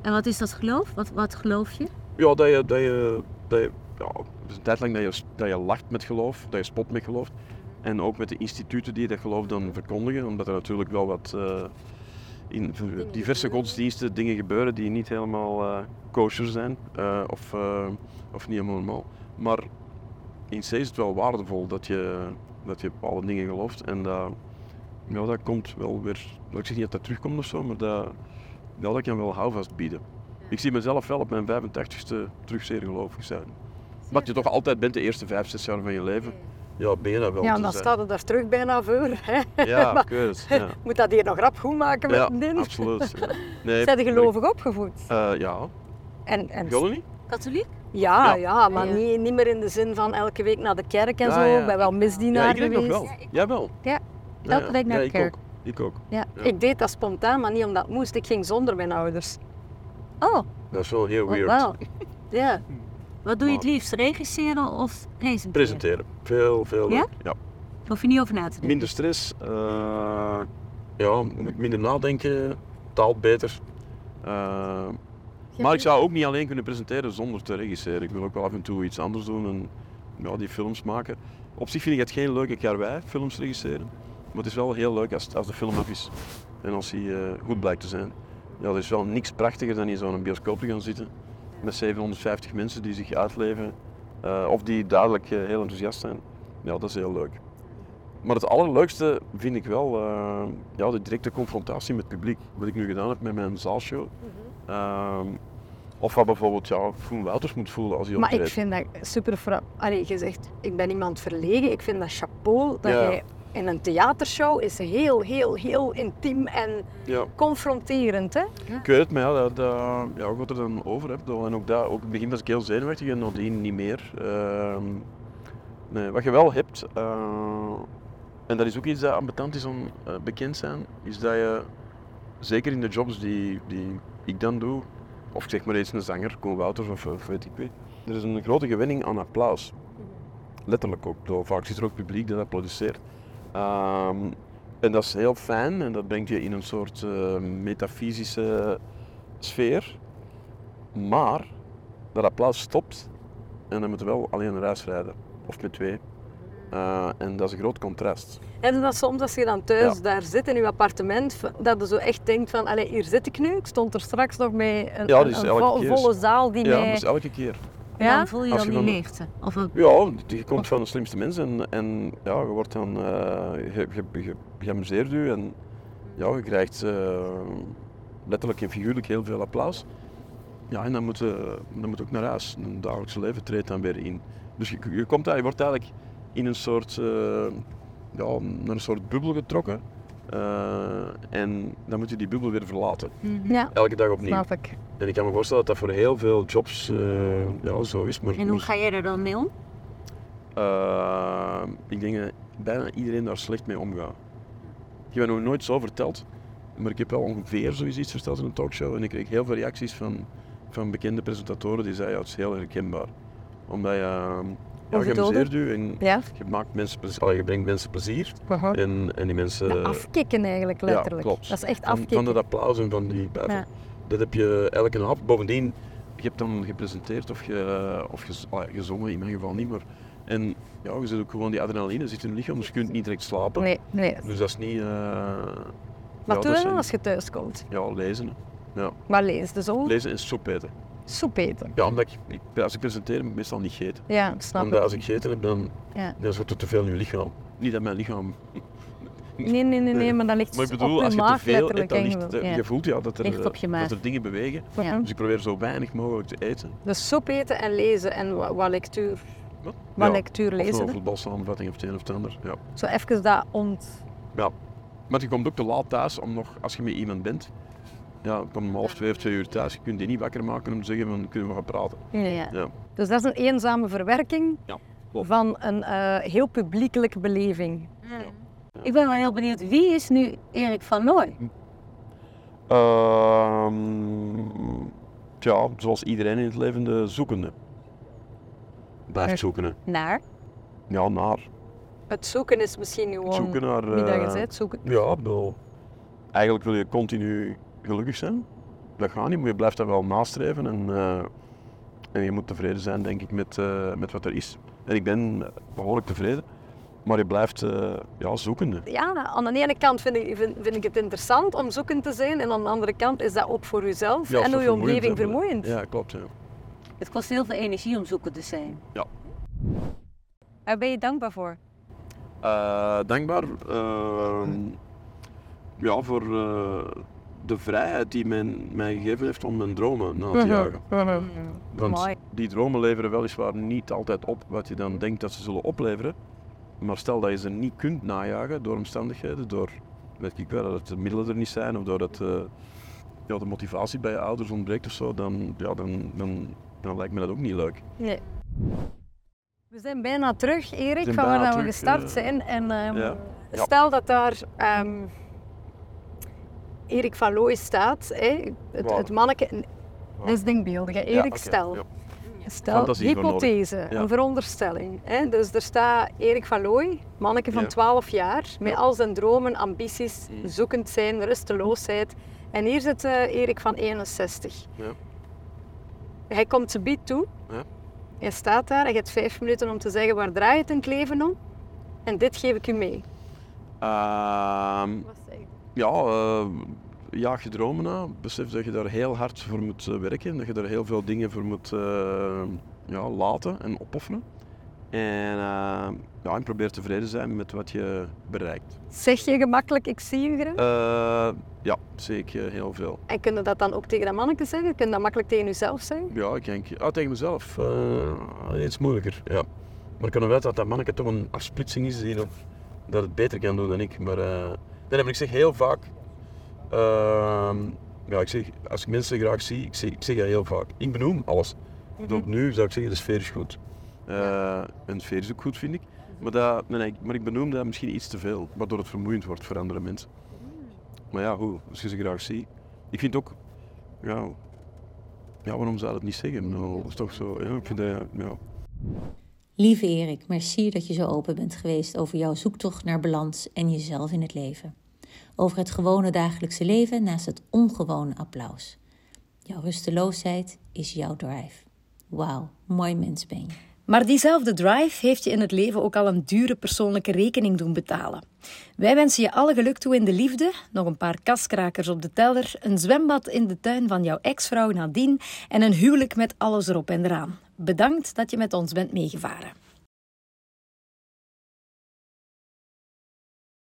Speaker 5: En wat is dat geloof? Wat, wat geloof je?
Speaker 4: Ja, dat je, dat je, dat je ja, dus een tijd lang dat je, dat je lacht met geloof, dat je spot met geloof.
Speaker 3: Mhm.
Speaker 4: En ook met de instituten die dat geloof dan verkondigen, omdat er natuurlijk wel wat eh, in diverse godsdiensten dingen gebeuren die niet helemaal eh, kosher zijn eh, of, eh, of niet helemaal normaal. Maar in C is het wel waardevol dat je, dat je bepaalde dingen gelooft en dat, ja, dat komt wel weer, ik zeg niet dat dat terugkomt of zo, maar dat, ja, dat kan wel houvast bieden. Ik zie mezelf wel op mijn 85ste terug zeer gelovig zijn. Wat je toch altijd bent de eerste 5, 6 jaar van je leven. Ja, ben je dat eh, wel.
Speaker 3: Ja, en
Speaker 4: te
Speaker 3: dan
Speaker 4: zijn.
Speaker 3: staat het daar terug bijna voor. Hè?
Speaker 4: Ja, ik weet het. Ja,
Speaker 3: Moet dat hier nog rap goed maken met
Speaker 4: ja
Speaker 3: een ding?
Speaker 4: absoluut. Ja. Nee,
Speaker 3: Zijn de gelovig opgevoed?
Speaker 4: eh, ja,
Speaker 3: En, en,
Speaker 4: jullie niet?
Speaker 5: Katholiek?
Speaker 3: ja,
Speaker 4: Ja.
Speaker 3: ja, maar
Speaker 5: Ja.
Speaker 3: Niet, niet meer in de zin van elke week naar de kerk en
Speaker 4: Ja,
Speaker 3: zo.
Speaker 4: ja.
Speaker 3: Ik ben wel
Speaker 5: Nou,
Speaker 3: misdienaar
Speaker 4: ja, ik denk nog
Speaker 3: geweest.
Speaker 4: wel. Jij wel?
Speaker 3: Ja,
Speaker 5: elke week naar de
Speaker 4: ik
Speaker 5: kerk.
Speaker 4: Ook. Ik ook.
Speaker 5: Ja.
Speaker 4: Ja.
Speaker 3: Ik deed dat spontaan, maar niet omdat het moest. Ik ging zonder mijn ouders.
Speaker 5: Oh,
Speaker 4: Dat is wel heel
Speaker 5: wa-
Speaker 4: weird.
Speaker 5: wauw.
Speaker 3: Ja.
Speaker 5: Wat doe je het
Speaker 4: Maar-
Speaker 5: liefst? Regisseren of presenteren?
Speaker 4: Presenteren. Veel, veel.
Speaker 5: Ja?
Speaker 4: ja.
Speaker 5: Hoef je niet over na te denken.
Speaker 4: Minder stress. eh, ja, minder nadenken. Taal beter. Eh, maar ik zou ook niet alleen kunnen presenteren zonder te regisseren. Ik wil ook wel af en toe iets anders doen en ja, die films maken. Op zich vind ik het geen leuke karwei, films regisseren. Maar het is wel heel leuk als, als de film af is en als hij eh, goed blijkt te zijn. Ja, er is wel niks prachtiger dan in zo'n bioscoop te gaan zitten met 750 mensen die zich uitleven eh, of die duidelijk eh, heel enthousiast zijn. Ja, dat is heel leuk. Maar het allerleukste vind ik wel eh, ja, de directe confrontatie met het publiek. Wat ik nu gedaan heb met mijn zaalshow.
Speaker 3: Mhm.
Speaker 4: Ehm, of wat bijvoorbeeld ja, Koen Wouters moet voelen als hij
Speaker 3: Maar ik
Speaker 4: optreedt.
Speaker 3: vind dat super... fra- Allee, je zegt, ik ben iemand verlegen. Ik vind dat chapeau dat
Speaker 4: Ja.
Speaker 3: jij... In een theatershow is heel, heel, heel intiem en
Speaker 4: Ja.
Speaker 3: confronterend, hè?
Speaker 4: Ik weet het, maar ja, dat, dat, ja, ook wat er dan over heb. dat- En ook, dat, ook in het begin was ik heel zenuwachtig en nadien niet meer. Ehm, nee, wat je wel hebt, eh, en dat is ook iets dat ambetant is om eh, bekend zijn, is dat je, zeker in de jobs die, die ik dan doe, of ik zeg maar eens een zanger, Koen Wouters of, of weet ik wie, er is een grote gewinning aan applaus. Letterlijk ook. Door- Vaak zit er ook publiek dat applaudisseert. Ehm, en dat is heel fijn en dat brengt je in een soort eh, metafysische sfeer. Maar dat applaus stopt en dan moet je wel alleen naar huis rijden. Of met twee. Eh, en dat is een groot contrast.
Speaker 3: En dat soms als je dan thuis
Speaker 4: Ja.
Speaker 3: daar zit in je appartement, v- dat je zo echt denkt van, allee, hier zit ik nu. Ik stond er straks nog mee een,
Speaker 4: Ja,
Speaker 3: een-
Speaker 4: dus
Speaker 3: een
Speaker 4: elke
Speaker 3: vo-
Speaker 4: keer is-
Speaker 3: volle zaal die
Speaker 4: Ja,
Speaker 3: mij...
Speaker 4: dat is elke keer.
Speaker 5: Ja?
Speaker 3: Ja?
Speaker 5: Dan voel je
Speaker 4: Als
Speaker 5: dan
Speaker 4: je
Speaker 5: die
Speaker 4: van-
Speaker 5: leegte. Of een-
Speaker 4: Ja, je komt van de slimste mensen en, en ja, je wordt dan eh, ge- ge- ge- geamuseerd u en ja, je krijgt eh, letterlijk en figuurlijk heel veel applaus. Ja, en dan moet, eh, dan moet ook naar huis. Een dagelijkse leven treedt dan weer in. Dus je, je, komt, daar- je wordt eigenlijk in een soort, eh, ja, naar een soort bubbel getrokken. Eh, en dan moet je die bubbel weer verlaten.
Speaker 5: Mhm.
Speaker 3: Ja,
Speaker 4: Elke dag opnieuw.
Speaker 3: snap ik.
Speaker 4: En ik kan me voorstellen dat dat voor heel veel jobs eh, ja, zo is. Maar,
Speaker 5: En hoe
Speaker 4: maar-
Speaker 5: ga jij er dan mee om?
Speaker 4: eh, ik denk dat bijna iedereen daar slecht mee omgaat. Ik heb het nog nooit zo verteld, maar ik heb wel ongeveer zoiets iets verteld in een talkshow. En ik kreeg heel veel reacties van, van bekende presentatoren die zeiden, ja, het is heel herkenbaar. Omdat je, eh, ja, je
Speaker 3: Ongeduldig.
Speaker 4: amuseert je en
Speaker 3: Ja.
Speaker 4: je, maakt mensen plezier, allee, je brengt mensen plezier. En, en die mensen...
Speaker 3: Dat afkikken eigenlijk, letterlijk.
Speaker 4: Ja, klopt.
Speaker 3: Dat is echt
Speaker 4: van,
Speaker 3: afkikken.
Speaker 4: Van dat applaus en van die buiten.
Speaker 3: Ja.
Speaker 4: Dat heb je elke hap. Bovendien, je hebt dan gepresenteerd of, ge, of gez- ah ja, gezongen, in mijn geval niet, maar... En ja, je zit ook gewoon die adrenaline zit in je lichaam, dus je kunt niet direct slapen.
Speaker 3: Nee, nee.
Speaker 4: Dus dat is niet... eh,
Speaker 3: Wat doe
Speaker 4: ja, dat
Speaker 3: je dan
Speaker 4: zijn-
Speaker 3: als je thuis komt?
Speaker 4: Ja, lezen. hè. Ja,
Speaker 3: Maar lees, dus ook
Speaker 4: lezen en soep eten.
Speaker 3: soep eten.
Speaker 4: Ja, omdat ik, ik- als ik presenteer, moet ik meestal niet eten.
Speaker 3: Ja, snap
Speaker 4: Omdat
Speaker 3: ik.
Speaker 4: als ik gegeten heb, dan,
Speaker 3: Ja.
Speaker 4: dan wordt er te veel in je lichaam. Niet dat mijn lichaam...
Speaker 3: Nee, nee, nee, nee, maar dat ligt
Speaker 4: Maar ik bedoel,
Speaker 3: op
Speaker 4: als
Speaker 3: je
Speaker 4: je te
Speaker 3: maag,
Speaker 4: veel eet,
Speaker 3: letterlijk.
Speaker 4: dan
Speaker 3: en
Speaker 4: ligt,
Speaker 3: je-
Speaker 4: eh,
Speaker 3: ja.
Speaker 4: je voelt ja, dat er,
Speaker 5: Ligt op je
Speaker 4: eh,
Speaker 5: maag.
Speaker 4: dat er dingen bewegen.
Speaker 3: Ja.
Speaker 4: Dus ik probeer zo weinig mogelijk te eten.
Speaker 3: Dus soep eten en lezen en wa- wat, lectuur.
Speaker 4: Wat?
Speaker 3: Wat lectuur
Speaker 4: Of
Speaker 3: lezen,
Speaker 4: een
Speaker 3: hè?
Speaker 4: voetbalsamenvatting of het een of het ander. Ja.
Speaker 3: Zo even dat ont...
Speaker 4: ja. Maar je komt ook te laat thuis om nog, als je met iemand bent, Ja, ik kom om half twee of twee uur thuis. Je kunt die niet wakker maken om te zeggen van kunnen we gaan praten.
Speaker 3: Nee, nee.
Speaker 5: Ja.
Speaker 4: Ja,
Speaker 3: Dus dat is een eenzame verwerking
Speaker 4: Ja, klopt.
Speaker 3: van een eh, heel publiekelijke beleving.
Speaker 5: Ik ben wel heel benieuwd, wie is nu Erik van Looy?
Speaker 4: Hm. Ehm, tja, zoals iedereen in het leven, de zoekende. Blijft zoeken.
Speaker 5: Naar?
Speaker 4: Ja, naar.
Speaker 3: Het zoeken is misschien gewoon
Speaker 4: Zoeken naar...
Speaker 3: niet dat je
Speaker 4: eh,
Speaker 3: zegt, zoeken.
Speaker 4: Ja, ik bedoel, Eigenlijk wil je continu gelukkig zijn. Dat gaat niet, maar je blijft dat wel nastreven. En, eh, en je moet tevreden zijn, denk ik, met, eh, met wat er is. En ik ben behoorlijk tevreden. Maar je blijft eh, ja, zoekende.
Speaker 3: Ja, aan de ene kant vind ik, vind, vind ik het interessant om zoekend te zijn en aan de andere kant is dat ook voor jezelf
Speaker 4: Ja,
Speaker 3: en
Speaker 4: zo
Speaker 3: hoe je
Speaker 4: vermoeiend,
Speaker 3: omgeving
Speaker 4: hè, maar-
Speaker 3: vermoeiend.
Speaker 4: Ja, klopt. Ja.
Speaker 5: Het kost heel veel energie om zoeken te zijn.
Speaker 3: Daar ben je dankbaar voor.
Speaker 4: Eh, dankbaar eh, ja, voor eh, de vrijheid die men mij gegeven heeft om mijn dromen na te jagen. Want
Speaker 3: Mhm. Mooi.
Speaker 4: die dromen leveren weliswaar niet altijd op wat je dan denkt dat ze zullen opleveren. Maar stel dat je ze niet kunt najagen door omstandigheden, door weet ik wel, dat de middelen er niet zijn of doordat eh, ja, de motivatie bij je ouders ontbreekt of zo, dan, ja, dan, dan, dan lijkt me dat ook niet leuk.
Speaker 3: We zijn bijna terug, Erik,
Speaker 4: zijn
Speaker 3: van waar
Speaker 4: bijna
Speaker 3: we
Speaker 4: terug,
Speaker 3: gestart
Speaker 4: eh,
Speaker 3: zijn. En, ehm,
Speaker 4: ja. Ja.
Speaker 3: Stel dat daar ehm, Erik van Looy staat, hè, het,
Speaker 4: Waar?
Speaker 3: het manneke... Dat is denkbeeldig, hè. Erik,
Speaker 4: Ja, oké,
Speaker 3: stel.
Speaker 4: ja.
Speaker 3: Stel,
Speaker 4: Fantasie voor nodig.
Speaker 3: hypothese,
Speaker 4: Ja.
Speaker 3: een veronderstelling. Hè? Dus er staat Erik van Looy, manneke van
Speaker 4: Ja.
Speaker 3: 12 jaar, met
Speaker 4: Ja.
Speaker 3: al zijn dromen, ambities,
Speaker 4: Mm.
Speaker 3: zoekend zijn, rusteloosheid. En hier zit eh, Erik van 61.
Speaker 4: Ja.
Speaker 3: Hij komt te bied toe,
Speaker 4: Ja.
Speaker 3: hij staat daar, hij heeft vijf minuten om te zeggen waar draai het in Kleven om. En dit geef ik u mee.
Speaker 4: Ehm, ja, eh, jaag je dromen na. Besef dat je daar heel hard voor moet eh, werken. Dat je daar heel veel dingen voor moet eh, ja, laten en opofferen. En, eh, ja, en probeer tevreden te zijn met wat je bereikt.
Speaker 3: Zeg je gemakkelijk, ik zie u graag?
Speaker 4: Eh, ja, zie ik eh, heel veel.
Speaker 3: En kun je dat dan ook tegen dat manneke zeggen? Kun je dat makkelijk tegen jezelf zeggen?
Speaker 4: Ja, ik denk... Ah, tegen mezelf. eh, iets moeilijker, ja. Maar ik kan wel dat dat manneke toch een afsplitsing is die dat, dat het beter kan doen dan ik. Maar, eh, nee, maar ik zeg heel vaak... ehm, ja, ik zeg, als ik mensen graag zie, ik zeg, ik zeg dat heel vaak. Ik benoem alles. Tot nu zou ik zeggen, de sfeer is goed. Mhm. Eh, En de sfeer is ook goed, vind ik. Maar, dat, nee, nee, maar ik benoem dat misschien iets te veel, waardoor het vermoeiend wordt voor andere mensen. Maar ja, hoe? Als je ze graag ziet. Ik vind ook... Ja, ja, waarom zou dat niet zeggen? Ik bedoel, Dat is toch zo. Ja, ik vind dat, ja.
Speaker 2: Lieve Erik, merci dat je zo open bent geweest over jouw zoektocht naar balans en jezelf in het leven. Over het gewone dagelijkse leven naast het ongewone applaus. Jouw rusteloosheid is jouw drive. Wauw, mooi mens ben je.
Speaker 1: Maar diezelfde drive heeft je in het leven ook al een dure persoonlijke rekening doen betalen. Wij wensen je alle geluk toe in de liefde, nog een paar kaskrakers op de teller, een zwembad in de tuin van jouw ex-vrouw Nadine en een huwelijk met alles erop en eraan. Bedankt dat je met ons bent meegevaren.